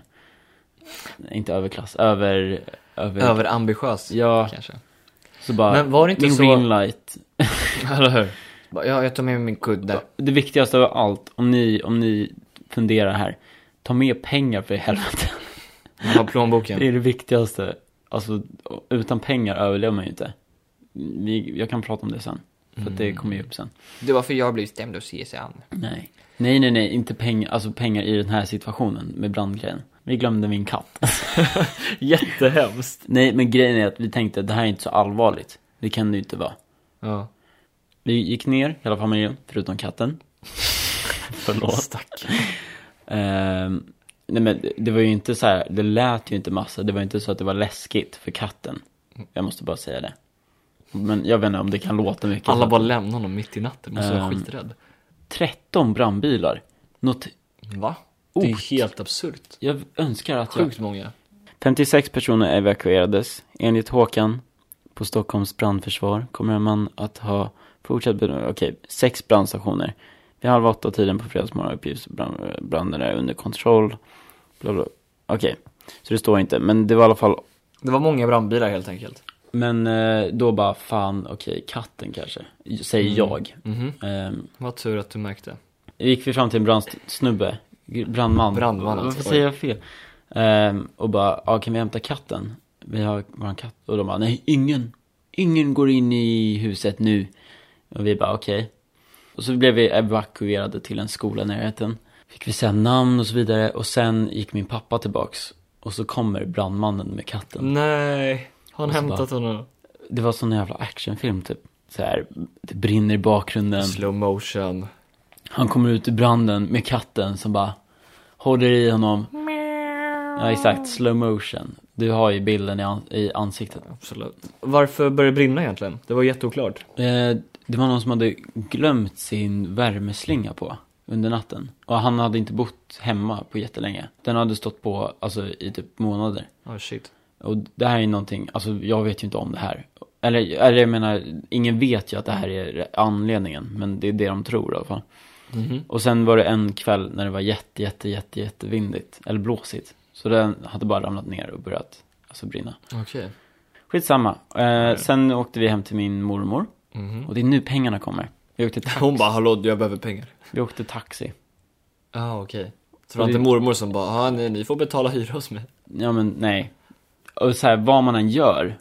Speaker 1: Nej, Inte överklass, över... över...
Speaker 2: Överambitiös,
Speaker 1: Ja,
Speaker 2: kanske.
Speaker 1: så bara...
Speaker 2: Men var det inte
Speaker 1: min
Speaker 2: så-
Speaker 1: green light.
Speaker 2: Eller hur? Ja, jag tar med mig min kudde.
Speaker 1: Det viktigaste av allt, om ni, om ni funderar här. Ta med pengar för i helvete.
Speaker 2: Jag har
Speaker 1: Det
Speaker 2: plånboken.
Speaker 1: är det viktigaste. Alltså, utan pengar överlever man ju inte. Vi, jag kan prata om det sen. För att det kommer ju upp sen.
Speaker 5: Det var för jag blev stämd av CSN.
Speaker 1: Nej. Nej, nej, nej, inte pengar, alltså pengar i den här situationen med brandgrejen. Vi glömde min katt.
Speaker 4: Jättehemskt.
Speaker 1: Nej, men grejen är att vi tänkte att det här är inte så allvarligt. Det kan det ju inte vara.
Speaker 2: Ja.
Speaker 1: Vi gick ner, hela familjen, förutom katten. Förlåt. Ehm, nej men det- det var ju inte så här, det lät ju inte massa, det var inte så att det var läskigt för katten. Jag måste bara säga det. Men jag vet inte om det kan låta mycket.
Speaker 2: Alla bara lämnar honom mitt i natten, måste vara
Speaker 1: Ehm.
Speaker 2: skiträdd.
Speaker 1: 13 brandbilar. Något,
Speaker 2: Va? Det är
Speaker 1: oh,
Speaker 2: helt absurt.
Speaker 1: jag önskar att jag
Speaker 2: Sjukt många.
Speaker 1: 56 personer evakuerades. Enligt Håkan på Stockholms brandförsvar kommer man att ha fortsatt, okej, sex brandstationer. Vid halv åtta tiden på fredagsmorgonen uppges brand- branden är under kontroll. Bla bla. Okej, så det står inte, men det var i alla fall,
Speaker 2: Det var många brandbilar helt enkelt.
Speaker 1: men eh, då bara fan, okej, katten kanske, säger jag.
Speaker 2: Mhm.
Speaker 1: Ehm,
Speaker 2: Vad tur att du märkte.
Speaker 1: gick vi fram till en brandsnubbe, brandman.
Speaker 2: Brandman, alltså.
Speaker 1: Varför
Speaker 2: Oj.
Speaker 1: säger jag fel? Ehm, och bara, ja kan vi hämta katten? Vi har vår katt. Och de bara, nej ingen. Ingen går in i huset nu. Och vi bara, okej. Och så blev vi evakuerade till en skola i närheten. Fick vi säga namn och så vidare. Och sen gick min pappa tillbaks. Och så kommer brandmannen med katten.
Speaker 2: Nej, har
Speaker 1: Och
Speaker 2: han
Speaker 1: så
Speaker 2: hämtat honom?
Speaker 1: Det var sån jävla actionfilm typ. Så här, det brinner i bakgrunden.
Speaker 2: Slow motion.
Speaker 1: Han kommer ut i branden med katten som bara håller i honom. Ja exakt, slow motion. Du har ju bilden i, an- i ansiktet.
Speaker 2: Absolut. Varför började det brinna egentligen? Det var jätteoklart.
Speaker 1: Eh, det var någon som hade glömt sin värmeslinga på under natten. Och han hade inte bott hemma på jättelänge. Den hade stått på alltså, i typ månader.
Speaker 2: Oh shit.
Speaker 1: Och det här är någonting, alltså jag vet ju inte om det här. Eller, eller jag menar, ingen vet ju att det här är anledningen. Men det är det de tror i alla fall.
Speaker 2: Mhm.
Speaker 1: Och sen var det en kväll när det var jätte, jätte, jätte, jättevindigt. Eller blåsigt. Så den hade bara ramlat ner och börjat alltså, brinna.
Speaker 2: Okej.
Speaker 1: Skitsamma.
Speaker 2: Mm.
Speaker 1: Eh, sen åkte vi hem till min mormor.
Speaker 2: Mhm.
Speaker 1: Och det är nu pengarna kommer. Vi åkte, ta-
Speaker 2: Hon bara, hallå jag behöver pengar.
Speaker 1: vi åkte taxi.
Speaker 2: Ja ah, okej. Så det var
Speaker 1: Och
Speaker 2: inte
Speaker 1: det-
Speaker 2: mormor som bara, ah, nej, ni får betala hyra hos mig.
Speaker 1: Ja men nej. Och så här, vad man än gör.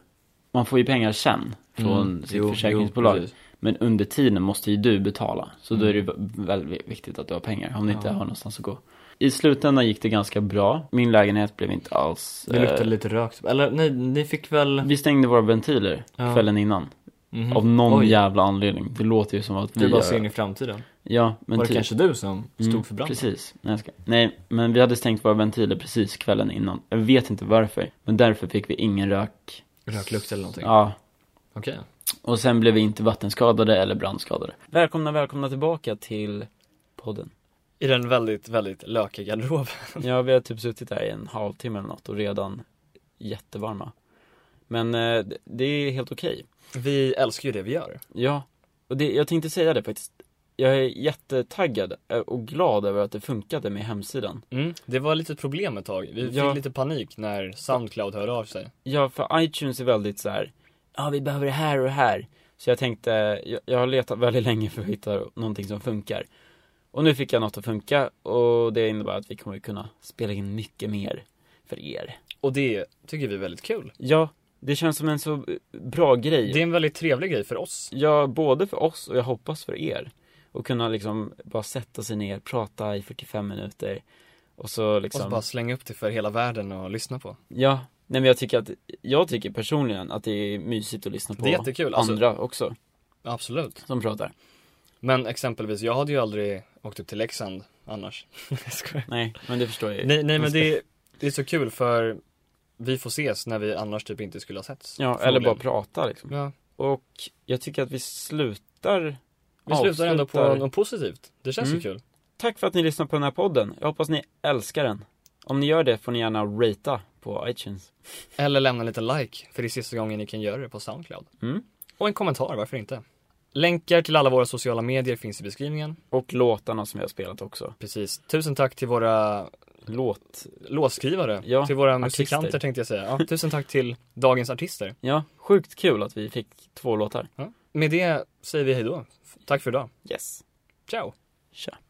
Speaker 1: Man får ju pengar sen. Från sitt
Speaker 2: Mm. jo,
Speaker 1: försäkringsbolag.
Speaker 2: jo, precis.
Speaker 1: men under tiden måste ju du betala. Så då är
Speaker 2: Mm.
Speaker 1: det ju väldigt viktigt att du har pengar. Om du inte har någonstans att gå. I slutändan gick det ganska bra. Min lägenhet blev inte alls...
Speaker 2: Det
Speaker 1: eh,
Speaker 2: luktade lite rök. Eller nej, ni fick väl?
Speaker 1: Vi stängde våra ventiler
Speaker 2: Ja.
Speaker 1: kvällen innan.
Speaker 2: Mhm.
Speaker 1: Av någon
Speaker 2: Oj.
Speaker 1: jävla anledning. Det låter ju som att vi...
Speaker 2: Du bara
Speaker 1: gör-
Speaker 2: ser in i framtiden.
Speaker 1: Ja, men
Speaker 2: var det
Speaker 1: typ.
Speaker 2: kanske du som stod
Speaker 1: Mm,
Speaker 2: för branden?
Speaker 1: Precis. Nej, jag ska... Nej, men vi hade stängt våra ventiler precis kvällen innan. Jag vet inte varför. Men därför fick vi ingen rök.
Speaker 2: Röklukt eller någonting?
Speaker 1: Ja.
Speaker 2: Okej.
Speaker 1: Och sen blev vi inte vattenskadade eller brandskadade. Välkomna, välkomna tillbaka till podden.
Speaker 4: I den väldigt, väldigt lökiga garderoben.
Speaker 1: Ja, vi har typ suttit här i en halvtimme eller något och redan jättevarma. Men eh, det- det är helt okej.
Speaker 4: Vi älskar ju det vi gör.
Speaker 1: Ja, och det, jag tänkte säga det faktiskt. jag är jättetaggad eh, och glad över att det funkade med hemsidan.
Speaker 2: Mm, det var lite problem ett tag. Vi
Speaker 1: Ja.
Speaker 2: fick lite panik när Soundcloud hörde av sig.
Speaker 1: Ja, för iTunes är väldigt så här. ja vi behöver det här och det här. Så jag tänkte, jag, jag har letat väldigt länge för att hitta någonting som funkar. Och nu fick jag något att funka och det innebär att vi kommer kunna spela in mycket mer för er.
Speaker 2: Och det tycker vi är väldigt kul.
Speaker 1: Ja, det känns som en så bra grej.
Speaker 2: Det är en väldigt trevlig grej för oss.
Speaker 1: Ja, både för oss och jag hoppas för er. Och kunna liksom bara sätta sig ner, prata i 45 minuter. Och så
Speaker 2: Och
Speaker 1: liksom,
Speaker 2: så bara slänga upp det för hela världen och lyssna på.
Speaker 1: ja. Nej men jag tycker att, jag tycker personligen att det är mysigt att lyssna på
Speaker 2: Det är jättekul, alltså-
Speaker 1: andra också
Speaker 2: Absolut.
Speaker 1: som pratar.
Speaker 2: Men exempelvis, jag hade ju aldrig åkt upp till Leksand annars. Jag skojar.
Speaker 1: Nej, men Eh, det förstår jag ju.
Speaker 2: nej, nej men det är, det är så kul för vi får ses när vi annars typ inte skulle ha setts.
Speaker 1: Ja, eller
Speaker 2: Förmodligen.
Speaker 1: bara prata liksom.
Speaker 2: Ja.
Speaker 1: Och jag tycker att vi slutar
Speaker 2: Vi slutar ändå på
Speaker 1: avslutar-
Speaker 2: något positivt. Det känns
Speaker 1: Mm.
Speaker 2: ju kul.
Speaker 1: Tack för att ni lyssnar på den här podden. Jag hoppas ni älskar den. Om ni gör det får ni gärna ratea på iTunes.
Speaker 2: Eller lämna lite like, för det är sista gången ni kan göra det på Soundcloud.
Speaker 1: Mm.
Speaker 2: Och en kommentar, varför inte? Länkar till alla våra sociala medier finns i beskrivningen.
Speaker 1: Och låtarna som vi har spelat också.
Speaker 2: Precis. Tusen tack till våra
Speaker 1: Låt
Speaker 2: låtskrivare,
Speaker 1: Ja,
Speaker 2: till våra
Speaker 1: artister.
Speaker 2: musikanter tänkte jag säga. Ja, tusen tack till dagens artister.
Speaker 1: Ja, sjukt kul att vi fick två låtar.
Speaker 2: Med det säger vi hejdå. Tack för idag.
Speaker 1: Yes.
Speaker 2: Ciao!
Speaker 1: Tja.